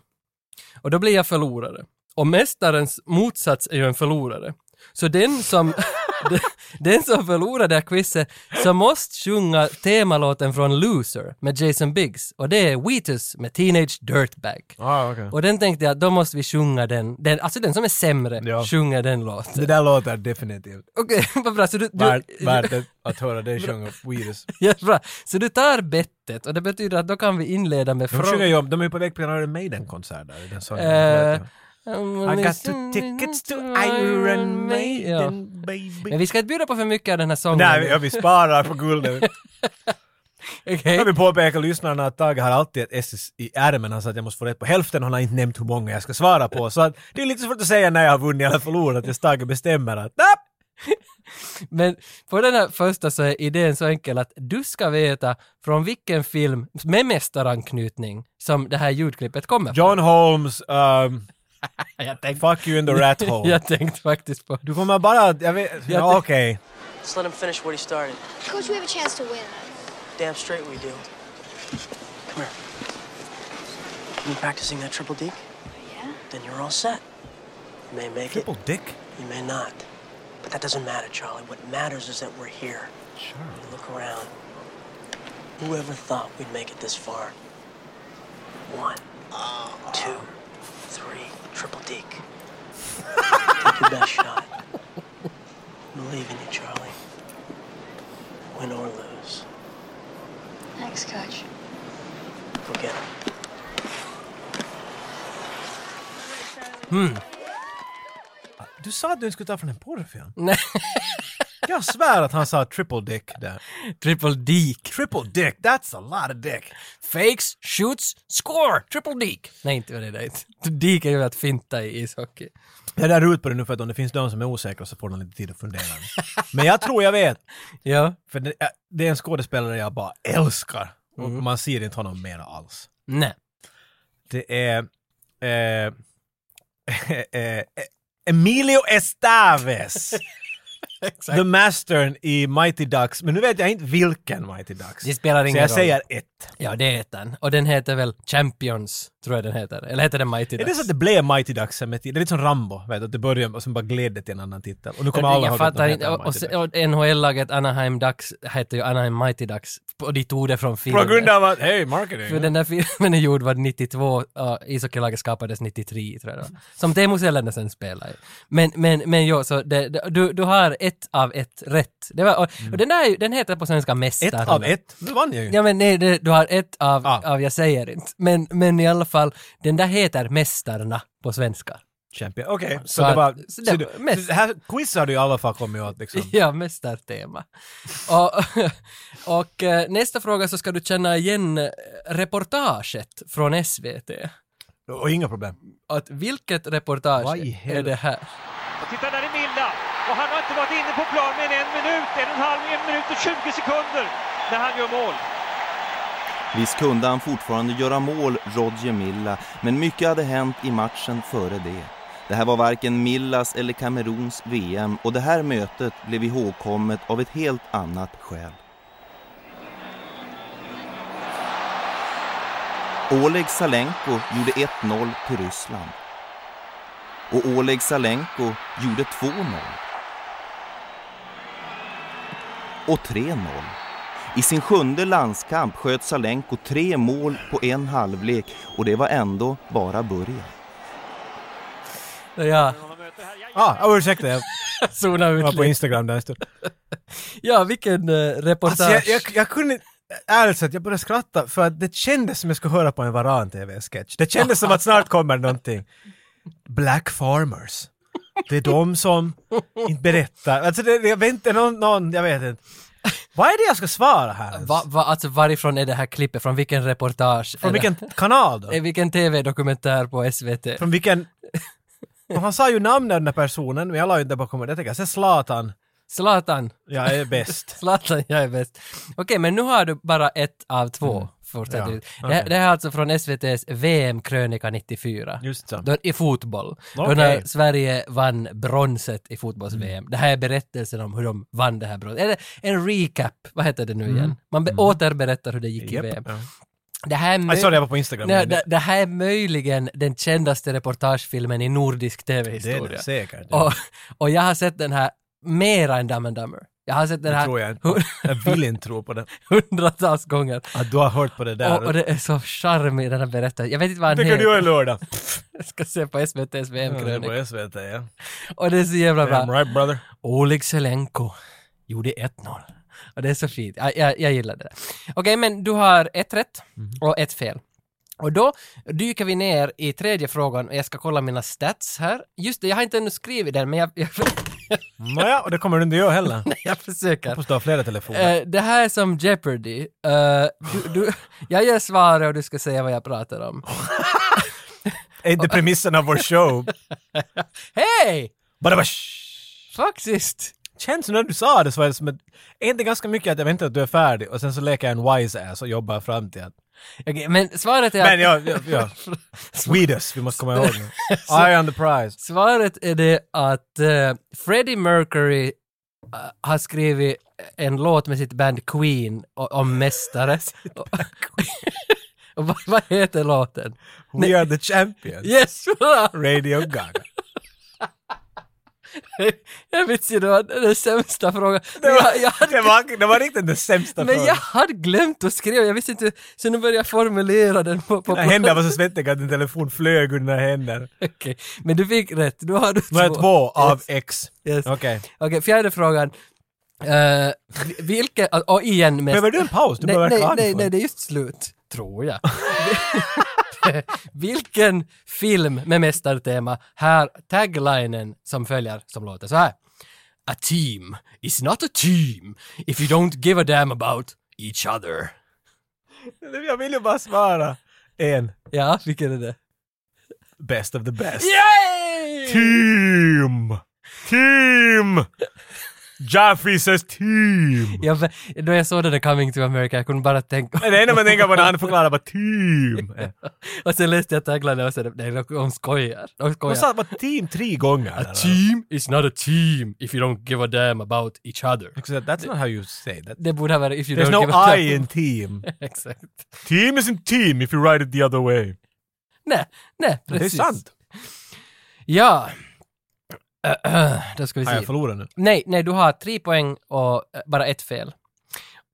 Speaker 1: Och då blir jag förlorare. Och mästarens motsats är ju en förlorare. Så den som, den, den som förlorar det här quizet så måste sjunga temalåten från Loser med Jason Biggs och det är Wheatus med Teenage Dirtbag.
Speaker 2: Ah, okay.
Speaker 1: Och den tänkte jag, då måste vi sjunga den, den alltså den som är sämre,
Speaker 2: Ja.
Speaker 1: sjunger den låten.
Speaker 2: Det där låter definitivt
Speaker 1: Okej, vad bra, så du, du,
Speaker 2: värt, värt att, att höra dig sjunga Weedus.
Speaker 1: ja, bra. så du tar bettet och det betyder att då kan vi inleda med
Speaker 2: De
Speaker 1: frågan.
Speaker 2: sjunger ju om, de är ju på väg på en Maiden-konsert där i den sången.
Speaker 1: Eh,
Speaker 2: I got two tickets to Iron Maiden,
Speaker 1: Men
Speaker 2: baby.
Speaker 1: vi ska inte bjuda på för mycket av den här sången.
Speaker 2: Nej, vi, vi sparar på guldet.
Speaker 1: Okej.
Speaker 2: Jag vill påpeka lyssnarna att Tage har alltid ett S i ärmen. Han sa att jag måste få rätt på hälften. Han har inte nämnt hur många jag ska svara på. Så att det är lite svårt att säga när jag har vunnit eller förlorat. tills Tage bestämmer att "Napp,
Speaker 1: Men på den här första så är idén så enkel att du ska veta från vilken film med mästaranknytning som det här ljudklippet kommer från.
Speaker 2: John Holmes, um,
Speaker 1: Jag tänkte,
Speaker 2: fuck you in the rat hole.
Speaker 1: jag tänkte faktiskt på
Speaker 2: Du kommer bara att, jag vet, ja, okej.
Speaker 9: Just let him finish what he started.
Speaker 4: Coach, we have a chance to win.
Speaker 9: Damn straight we do. Come here. You practicing that triple deke? Yeah. Then you're all set. You may make
Speaker 2: Triple dick?
Speaker 9: it, you may not. But that doesn't matter, Charlie. What matters is that we're here. Charlie. Look around. Whoever thought we'd make it this far? One, two, three. triple deke. Take your best shot. Believe in you, Charlie. Win or lose.
Speaker 10: Thanks, coach.
Speaker 9: Go get him.
Speaker 2: Du sa att du inte skulle ta från en porrfilm.
Speaker 1: Nej.
Speaker 2: Jag svär att han sa triple dick där.
Speaker 1: Triple Deke.
Speaker 2: Triple dick, that's a lot of dick.
Speaker 1: Fakes, shoots, score! Triple Deke! Nej, inte vad det där. Deke är ju att finta i ishockey.
Speaker 2: Jag drar ut på det nu för att om det finns de som är osäkra så får de lite tid att fundera. Men jag tror jag vet.
Speaker 1: Ja.
Speaker 2: För det, äh, det är en skådespelare jag bara älskar. Och
Speaker 1: Mm.
Speaker 2: man ser inte honom mera alls.
Speaker 1: Nej.
Speaker 2: Det är... Eh, eh, Emilio Estevez! The Mastern i Mighty Ducks, men nu vet jag inte vilken Mighty Ducks.
Speaker 1: Det spelar
Speaker 2: Så
Speaker 1: ingen
Speaker 2: jag
Speaker 1: roll.
Speaker 2: säger ett.
Speaker 1: Ja, det heter den. Och den heter väl Champions, tror jag den heter. Eller heter den Mighty
Speaker 2: Är det så att
Speaker 1: Ducks?
Speaker 2: det blev Mighty Ducks sen med tiden? Det är lite som Rambo, vet du, att det började och sen bara gled det till en annan titel. Och nu kommer alla
Speaker 1: jag
Speaker 2: ihåg att de
Speaker 1: fattar
Speaker 2: heter
Speaker 1: inte. Och,
Speaker 2: Mighty
Speaker 1: och,
Speaker 2: Ducks.
Speaker 1: se- och NHL-laget Anaheim Ducks hette ju Anaheim Mighty Ducks. Och de tog det från filmen.
Speaker 2: På grund av att, hej,
Speaker 1: För
Speaker 2: marketing!
Speaker 1: den där filmen är gjord var 92, uh, ishockeylaget skapades 93 tror jag det var. Som Teemu Selänäsen spelar i. Men, men, men jo, så det, det- du, du har ett av ett rätt. Det var, och, och den där är ju- den heter på svenska Mästaren.
Speaker 2: Ett av ett, då vann jag ju.
Speaker 1: Ja men nej, det, du har ett av,
Speaker 2: Ah.
Speaker 1: av, jag säger inte. Men, men i alla fall, den där heter Mästarna på svenska.
Speaker 2: Champion. Okej, så,
Speaker 1: Så
Speaker 2: det
Speaker 1: att-
Speaker 2: var...
Speaker 1: så
Speaker 2: Så
Speaker 1: det
Speaker 2: du,
Speaker 1: var mest-
Speaker 2: så här quiz har du i alla fall kommit åt liksom.
Speaker 1: Ja, mästartema. och, och eh, nästa fråga så ska du känna igen eh, reportaget från SVT.
Speaker 2: Och inga problem.
Speaker 1: Att vilket reportage
Speaker 2: Vad i
Speaker 1: är det här?
Speaker 11: Titta där är Milda och han har inte varit inne på plan mer än en minut, en och en halv, en minut och 20 sekunder när han gör mål.
Speaker 7: Visst kunde han fortfarande göra mål, Roger Milla, men mycket hade hänt i matchen före det. Det här var varken Millas eller Kameruns VM och det här mötet blev ihågkommet av ett helt annat skäl. Oleg Salenko gjorde 1-0 till Ryssland. Och Oleg Salenko gjorde 2-0. Och 3-0. I sin sjunde landskamp sköt Salenko tre mål på en halvlek och det var ändå bara början.
Speaker 1: Ja,
Speaker 2: Ah, ah, ursäkta, jag
Speaker 1: zona ut
Speaker 2: var på
Speaker 1: lite.
Speaker 2: Instagram där en stund.
Speaker 1: Ja, vilken eh, reportage.
Speaker 2: Alltså, jag, jag, jag kunde inte- Ärligt sagt, jag började skratta för att det kändes som jag skulle höra på en Varan-TV-sketch. Det kändes som att snart kommer någonting. Black farmers. Det är de som inte berättar. Alltså, det, jag vet inte, någon, någon, jag vet inte. Vad är det jag ska svara här? ens?
Speaker 1: Va, va, alltså varifrån är det här klippet? Från vilken reportage?
Speaker 2: Från
Speaker 1: är det?
Speaker 2: vilken kanal då?
Speaker 1: Eh, Vilken TV-dokumentär på SVT?
Speaker 2: Från vilken... Och Han sa ju namnet av den här personen, men jag la ju inte bakom det. Jag tänkte, sen Zlatan,
Speaker 1: Zlatan.
Speaker 2: jag är bäst.
Speaker 1: Zlatan, jag är bäst. Okej, men nu har du bara ett av två.
Speaker 2: Mm. Ja,
Speaker 1: fortsättningsvis. det,
Speaker 2: okej.
Speaker 1: här- det här är alltså från SVTs VM-krönika 94.
Speaker 2: Just så.
Speaker 1: Då, I fotboll. Då
Speaker 2: Okej.
Speaker 1: när Sverige vann bronset i fotbolls-VM. Det här är berättelsen om hur de vann det här bronset. Eller en recap, vad heter det nu igen? Man be- återberättar hur det gick i
Speaker 2: Mm. Japp.
Speaker 1: VM.
Speaker 2: Ja.
Speaker 1: Det här är
Speaker 2: Aj,
Speaker 1: möj-
Speaker 2: sorry, jag var på Instagram.
Speaker 1: Nej,
Speaker 2: men
Speaker 1: det, det här är möjligen den kändaste reportagefilmen i nordisk
Speaker 2: det är
Speaker 1: TV-historia.
Speaker 2: det säkert.
Speaker 1: Och, och jag har sett den här mera än Dumb and Dumber. Jag har sett den
Speaker 2: det
Speaker 1: här
Speaker 2: tror jag inte. på. Jag vill inte tro på det.
Speaker 1: hundratals gånger.
Speaker 2: Att du har hört på det där.
Speaker 1: Och, och det är så charmig den här berättelsen. Jag vet inte vad han
Speaker 2: tycker
Speaker 1: heter.
Speaker 2: du är lördag?
Speaker 1: Jag ska se på SVTs
Speaker 2: Ja, det
Speaker 1: VM-krönika.
Speaker 2: är på SVT, ja.
Speaker 1: och det är så jävla bra.
Speaker 2: Damn right brother.
Speaker 1: Oleg Selenko gjorde 1-0. Och det är så fint. Jag, jag, jag gillar det där. Okej, men du har ett rätt och ett fel. Och då dyker vi ner i tredje frågan och jag ska kolla mina stats här. Just det, jag har inte ännu skrivit den, men jag, jag,
Speaker 2: Nåja, och det kommer du inte göra heller.
Speaker 1: jag försöker.
Speaker 2: Hoppas du har flera telefoner.
Speaker 1: Eh, det här är som Jeopardy. Eh, du, du, jag ger svaret och du ska säga vad jag pratar om.
Speaker 2: Är inte premissen av vår show?
Speaker 1: Hej!
Speaker 2: Bara bara, shh.
Speaker 1: Faktiskt!
Speaker 2: Känns som när du sa det så var det som ett... Är det ganska mycket att jag väntar att du är färdig och sen så leker jag en wise ass och jobbar fram till att...
Speaker 1: Okej, men svaret är...
Speaker 2: Men ja, ja, ja. Swedish, vi måste komma ihåg nu. Eye on the prize.
Speaker 1: Svaret är det att eh, Freddie Mercury eh, har skrivit en låt med sitt band Queen o- om mästare. och och vad, vad heter låten?
Speaker 2: We are the champions.
Speaker 1: Yes! bra!
Speaker 2: Radio Gaga.
Speaker 1: Jag vet inte, det var den sämsta frågan. Men jag, jag hade,
Speaker 2: Det var, det var riktigt den sämsta
Speaker 1: men
Speaker 2: frågan.
Speaker 1: jag hade glömt att skriva, jag visste inte, så nu började jag formulera den på... på
Speaker 2: Mina händer var så svettiga att en telefon flög under mina händer.
Speaker 1: Okej, Men du fick rätt, då har du två.
Speaker 2: Nu är jag två av X.
Speaker 1: Yes. Okej,
Speaker 2: Okej.
Speaker 1: fjärde frågan. Uh, vilken, och igen mest...
Speaker 2: Behöver du en paus? Du behöver
Speaker 1: nej, nej,
Speaker 2: verkligen
Speaker 1: nej,
Speaker 2: andfådd.
Speaker 1: nej, det är just slut. Tror jag. Vilken film med mästartema här taglinen som följer som låter så här. A team is not a team if you don't give a damn about each other.
Speaker 2: Jag vill ju bara svara. En.
Speaker 1: Ja, vilken är det?
Speaker 2: Best of the best.
Speaker 1: Yay!
Speaker 2: Team! Team! Jaffe says team!
Speaker 1: Jag, då jag såg den där Coming to America, jag kunde bara tänka...
Speaker 2: Men det enda man tänker på när han förklarar bara team.
Speaker 1: Och sen läste jag taglinen och sen, nej, de- de skojar. De skojar.
Speaker 2: De sa bara team tre gånger.
Speaker 1: A team is not a team if you don't give a damn about each other.
Speaker 2: Jag skulle säga, That's not how you say that.
Speaker 1: Det borde ha varit if you
Speaker 2: There's
Speaker 1: don't give
Speaker 2: no
Speaker 1: a damn.
Speaker 2: I in team.
Speaker 1: Exakt.
Speaker 2: Team isn't team if you write it the other way.
Speaker 1: Nej, nej,
Speaker 2: Det är
Speaker 1: precis.
Speaker 2: sant.
Speaker 1: Ja. Äh, Då ska vi
Speaker 2: Har jag
Speaker 1: se.
Speaker 2: förlorat nu?
Speaker 1: Nej, nej, du har tre poäng och eh, bara ett fel.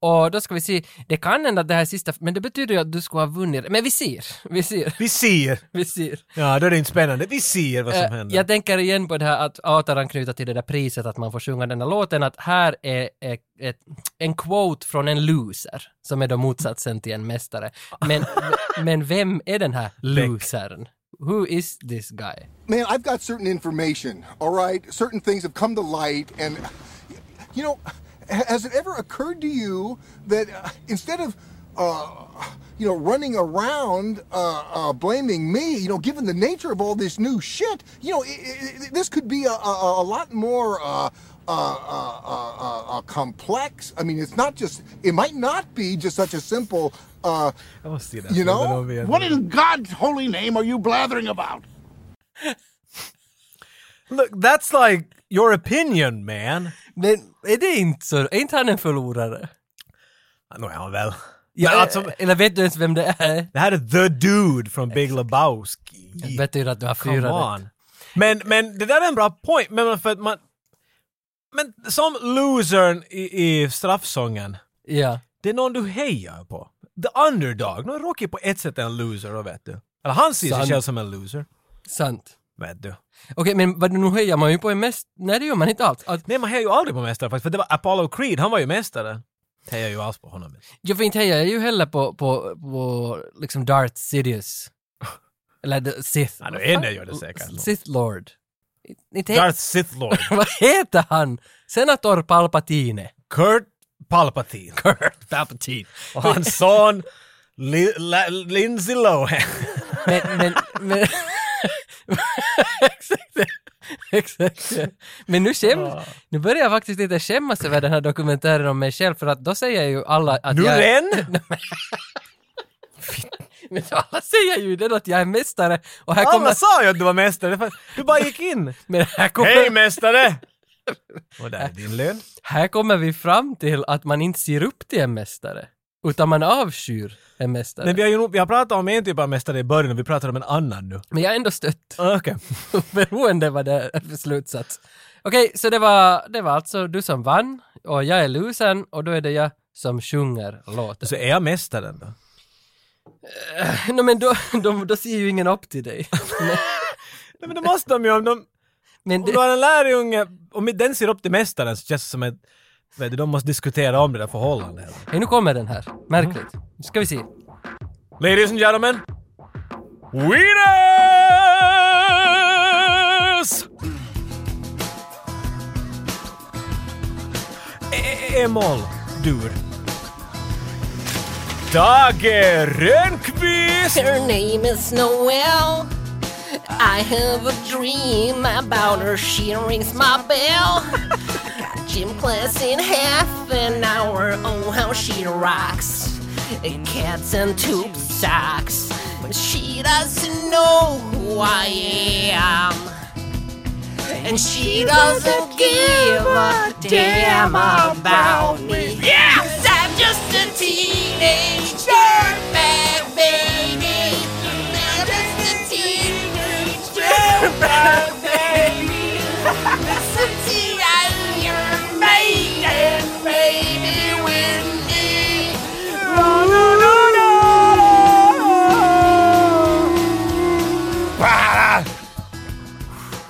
Speaker 1: Och då ska vi se, det kan hända att det här är sista, men det betyder ju att du skulle ha vunnit. Men vi ser, vi ser,
Speaker 2: Vi ser.
Speaker 1: vi ser.
Speaker 2: Ja, då är det inte spännande. Vi ser vad som
Speaker 1: Eh,
Speaker 2: händer.
Speaker 1: Jag tänker igen på det här att återanknyta till det där priset att man får sjunga den här låten, att här är, är, ett- en quote från en loser, som är då motsatsen till en mästare. Men, men vem är den här losern? Who is this guy?
Speaker 12: Man, I've got certain information, all right? Certain things have come to light, and, you know, has it ever occurred to you that uh, instead of, uh, you know, running around uh, uh, blaming me, you know, given the nature of all this new shit, you know, i i i- this could be a, a, a lot more. Uh, uh, uh, uh, uh, uh, complex. I mean, it's not just. It might not be just such a simple. Uh,
Speaker 2: Jag måste se det.
Speaker 12: you know.
Speaker 2: What is...
Speaker 12: God's holy name are you blathering about?
Speaker 2: Look, that's like your opinion, man.
Speaker 1: Men är det inte så? Är inte han en förlorare?
Speaker 2: Nåja, väl.
Speaker 1: Ja, eh,
Speaker 2: Men alltså,
Speaker 1: Eller vet du ens vem det är?
Speaker 2: det här är the dude från Big Lebowski.
Speaker 1: Det betyder att du har
Speaker 2: Come
Speaker 1: fyra rätt.
Speaker 2: on. Men, men det där är en bra point, men för att man... Men som losern i, i straffsången,
Speaker 1: Ja.
Speaker 2: det är någon du hejar på. The underdog. Någon Rocky är på ett sätt en loser, då vet du. Eller han ser sig
Speaker 1: Sant.
Speaker 2: själv som en loser.
Speaker 1: Sant.
Speaker 2: Vet du.
Speaker 1: Okej, men vad, nu höjer man ju på en mest... Nej, det gör man inte alls. Att,
Speaker 2: Nej, man hejar ju aldrig på mästare faktiskt, för det var Apollo Creed, han var ju mästare. Hejar ju alls på honom.
Speaker 1: jag får inte heja jag är ju heller på, på, på liksom Darth Sidious. Eller the Sith.
Speaker 2: Ja, nu är det gör det säkert.
Speaker 1: Sith Lord. Inte he-
Speaker 2: Darth Sith Lord.
Speaker 1: vad heter han? Senator Palpatine.
Speaker 2: Kurt Palpatine.
Speaker 1: Kurt Palpatine.
Speaker 2: Och hans son Li- La- Lindsay Lohan.
Speaker 1: Men, men, men... Exakt det. Exakt det. Men nu, skäm, nu börjar jag faktiskt lite skämmas över den här dokumentären om mig själv för att då säger ju alla att
Speaker 2: Nu
Speaker 1: jag...
Speaker 2: ren!
Speaker 1: Men alla säger ju den att jag är mästare och här kommer...
Speaker 2: Alla sa ju att du var mästare, det fan- du bara gick in.
Speaker 1: Men här kommer,
Speaker 2: Hej mästare! Och där är din lön.
Speaker 1: här kommer vi fram till att man inte ser upp till en mästare utan man avskyr en mästare.
Speaker 2: Nej,
Speaker 1: Men,
Speaker 2: vi har ju nog- vi har pratat om en typ av mästare i början och vi pratar om en annan nu.
Speaker 1: jag är ändå stött.
Speaker 2: Okej.
Speaker 1: Beroende vad det är för slutsats. Okej, så det var, det var alltså du som vann och jag är losern och då är det jag som sjunger låten.
Speaker 2: Så är jag mästaren då?
Speaker 1: Nå men då, då, då ser ju ingen upp till dig.
Speaker 2: Nej men det måste de ju om de...
Speaker 1: Men
Speaker 2: Om
Speaker 1: det,
Speaker 2: du har en lärjunge, om den ser upp till mästaren så känns det som att vet du, de måste diskutera om det där förhållandet.
Speaker 1: Hej, nu kommer den här. Märkligt.
Speaker 2: Mm.
Speaker 1: Nu ska vi se.
Speaker 2: Ladies and gentlemen, winners! E-moll, E-, dur. Tage Rönnqvist!
Speaker 8: Her name is Noelle. I have a dream about her. She rings my bell. Gym class in half an hour. Oh, how she rocks. Cats and tube socks. But she doesn't know who I am. And she doesn't give a damn about me. Yes! I'm just a teenage dirtbag baby. I'm just a teenage dirtbag baby. Yes,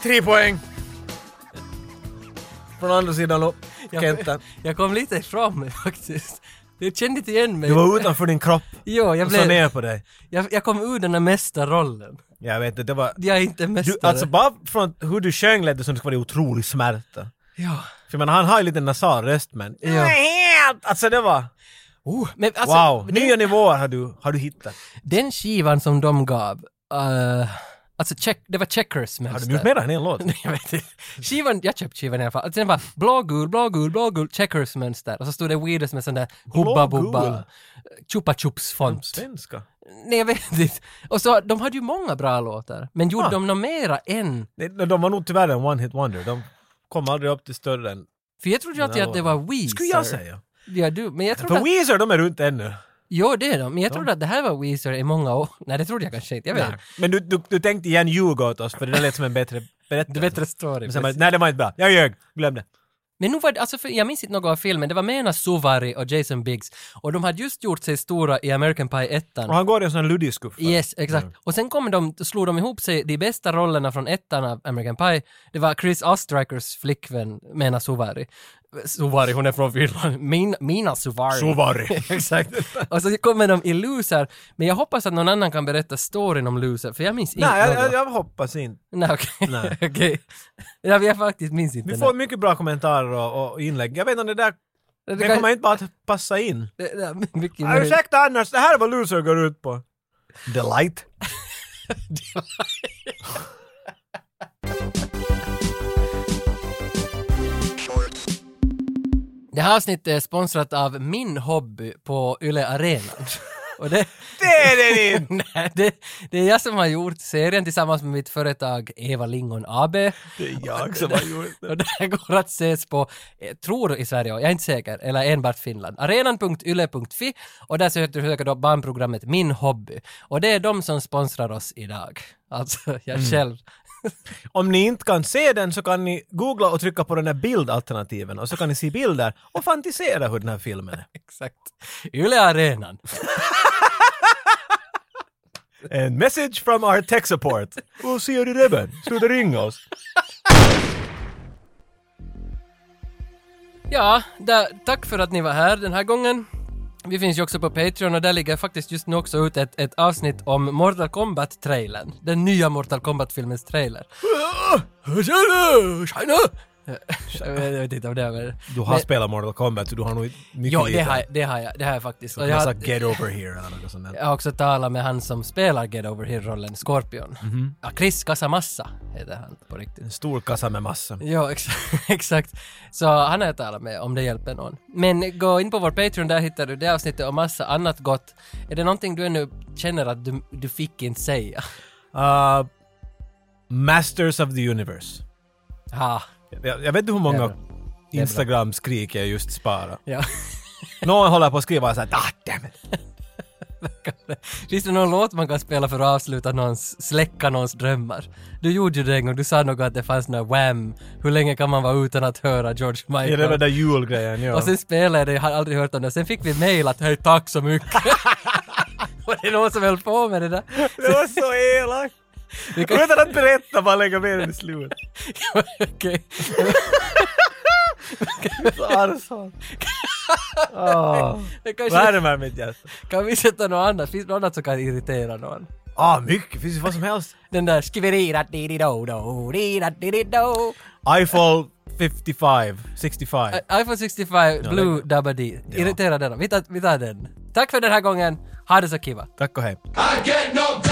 Speaker 2: Tre poäng! Från andra sidan lo-
Speaker 1: Jag,
Speaker 2: Kenta.
Speaker 1: jag kom lite ifrån mig faktiskt. Jag kände inte igen mig.
Speaker 2: Du var utanför din kropp.
Speaker 1: Jo, jag
Speaker 2: Och så
Speaker 1: blev...
Speaker 2: ner på dig.
Speaker 1: Jag, jag kom ur den här mästarrollen.
Speaker 2: Jag vet inte, det var...
Speaker 1: Jag är inte
Speaker 2: Du,
Speaker 1: mästare.
Speaker 2: alltså bara från hur du sjöng lät det som det skulle vara otrolig smärta.
Speaker 1: Ja.
Speaker 2: För man, han har ju lite nasal röst men...
Speaker 1: Ja.
Speaker 2: Helt! Alltså det var...
Speaker 1: Oh, men alltså,
Speaker 2: wow!
Speaker 1: den-
Speaker 2: Nya nivåer har du, har du hittat.
Speaker 1: Den skivan som de gav, eh, alltså check, det var Checkers
Speaker 2: Har
Speaker 1: mäster.
Speaker 2: de gjort mer än en låt?
Speaker 1: Nej, jag vet inte. Skivan, jag köpte skivan i alla fall. Alltså, den var blågul, blågul, blågul, checkers mönster. Och så stod det Weedus med sån där hubba
Speaker 2: Blågul?
Speaker 1: bubba, chupa chups font.
Speaker 2: Svenska?
Speaker 1: Nej, jag vet inte. Och så, de hade ju många bra låtar, men gjorde
Speaker 2: Ah.
Speaker 1: de något mera än?
Speaker 2: Nej, de de var nog tyvärr en one-hit wonder. De kom aldrig upp till större än...
Speaker 1: För jag trodde ju
Speaker 2: Den
Speaker 1: alltid
Speaker 2: här
Speaker 1: att det var Weezer.
Speaker 2: Skulle jag säga.
Speaker 1: Ja, du, men jag trodde
Speaker 2: För
Speaker 1: att...
Speaker 2: Weezer, de är runt ännu.
Speaker 1: Jo, det är de. Men jag
Speaker 2: De-
Speaker 1: trodde att det här var Weezer i många år. Nej, det trodde jag kanske inte. Jag vet
Speaker 2: Nej. Men du, du, du tänkte igen ljuga åt oss för det där lät som en bättre
Speaker 1: Det
Speaker 2: berättelse.
Speaker 1: är bättre story.
Speaker 2: Men sen bara,
Speaker 1: precis.
Speaker 2: nej det var inte bra, jag ljög, glöm det.
Speaker 1: Men nu var det, alltså för jag minns inte något av filmen, det var Mena Suvari och Jason Biggs och de hade just gjort sig stora i American Pie 1
Speaker 2: Och han går i en sån här luddig skuffa.
Speaker 1: Yes, exakt. Och sen kom de, slog de ihop sig, de bästa rollerna från ettan av American Pie, det var Chris Ostrikers flickvän Mena Suvari. Suvari, hon är från Finland. Min, Mina Suvari.
Speaker 2: Suvari.
Speaker 1: exakt. Och så kommer de i Loser, men jag hoppas att någon annan kan berätta storyn om Loser, för jag minns inte
Speaker 2: Nej, jag, jag,
Speaker 1: något.
Speaker 2: jag hoppas inte.
Speaker 1: Nej, okej.
Speaker 2: Nej.
Speaker 1: Okej. Ja, jag faktiskt minns inte.
Speaker 2: Vi
Speaker 1: den
Speaker 2: får mycket bra kommentarer och, och inlägg. Jag vet inte, det där
Speaker 1: här.
Speaker 2: det
Speaker 1: kan-
Speaker 2: kommer inte bara att passa in.
Speaker 1: det- det är mycket
Speaker 2: Ah,
Speaker 1: möjligt.
Speaker 2: ursäkta annars, det här är vad Loser går ut på. Delight.
Speaker 1: Det här avsnittet är sponsrat av min hobby på Yle Arenan. Och det,
Speaker 2: Det är det inte!
Speaker 1: nej, det, det är jag som har gjort serien tillsammans med mitt företag Eva Lingon AB.
Speaker 2: Det är jag som har gjort det.
Speaker 1: Och det här går att ses på, eh, tror i Sverige, jag är inte säker, eller enbart Finland. Arenan.yle.fi och där söker du söka då barnprogrammet Min hobby. Och det är de som sponsrar oss idag. Alltså jag själv.
Speaker 2: Om ni inte kan se den så kan ni googla och trycka på den här bildalternativen och så kan ni se bilder och fantisera hur den här filmen är.
Speaker 1: Exakt. Yle Arenan.
Speaker 2: En message from our tech support. Vad säger du Reben? Sluta ringa oss.
Speaker 1: Ja, där, tack för att ni var här den här gången. Vi finns ju också på Patreon och där ligger faktiskt just nu också ut ett, ett avsnitt om Mortal Kombat-trailern. Den nya Mortal Kombat-filmens trailer. China! Jag vet inte om det är...
Speaker 2: Du har spelat Mortal Kombat så du har nog mycket
Speaker 1: Jo, det
Speaker 2: lite.
Speaker 1: har, jag- det har jag, det har jag faktiskt.
Speaker 2: Du
Speaker 1: Och jag,
Speaker 2: har
Speaker 1: har-
Speaker 2: sagt get over here eller något sånt där.
Speaker 1: jag har också talat med han som spelar Get Over Here-rollen, Scorpion. Ja, Chris Casamassa heter han på riktigt.
Speaker 2: En stor kassa med massa.
Speaker 1: Ja, ex- exakt. Så han har jag talat med om det hjälper någon. Men gå in på vår Patreon, där hittar du det avsnittet och massa annat gott. Är det någonting du ännu känner att du, du fick inte säga?
Speaker 2: Uh, Masters of the Universe.
Speaker 1: Ah,
Speaker 2: Jag, jag vet inte hur
Speaker 1: Det är
Speaker 2: många
Speaker 1: bra. är bra.
Speaker 2: Instagram-skrik jag just sparar.
Speaker 1: ja.
Speaker 2: Någon håller på att skriva såhär ah damn it.
Speaker 1: Finns det någon låt man kan spela för att avsluta någons, släcka någons drömmar? Du gjorde ju det en gång, du sa något att det fanns några Wham! Hur länge kan man vara utan att höra George
Speaker 2: Ja, det var
Speaker 1: Michael?
Speaker 2: den där julgrejen ja.
Speaker 1: Och sen spelade jag det, jag har aldrig hört om det. Sen fick vi mail att hej tack så mycket. och det är någon som höll på med det där.
Speaker 2: Det var så elakt!
Speaker 1: Vi kan-
Speaker 2: Utan att berätta bara lägga med den i slutet.
Speaker 1: Okej.
Speaker 2: Arvsson. Oh.
Speaker 1: Det Kanske,
Speaker 2: Värmer mitt hjärta.
Speaker 1: kan vi sätta något annat? Finns det något annat som kan irritera någon?
Speaker 2: Ah mycket, finns det vad som helst.
Speaker 1: Den där skiverirat-di-di-do-do, di-dat-di-di-do.
Speaker 2: iPhone 55, 65.
Speaker 1: iPhone 65 Blue Dabba D. Irritera den. Vi tar, vi tar den. Tack för den här gången. Ha det så kiva.
Speaker 2: Tack och hej.
Speaker 12: I get no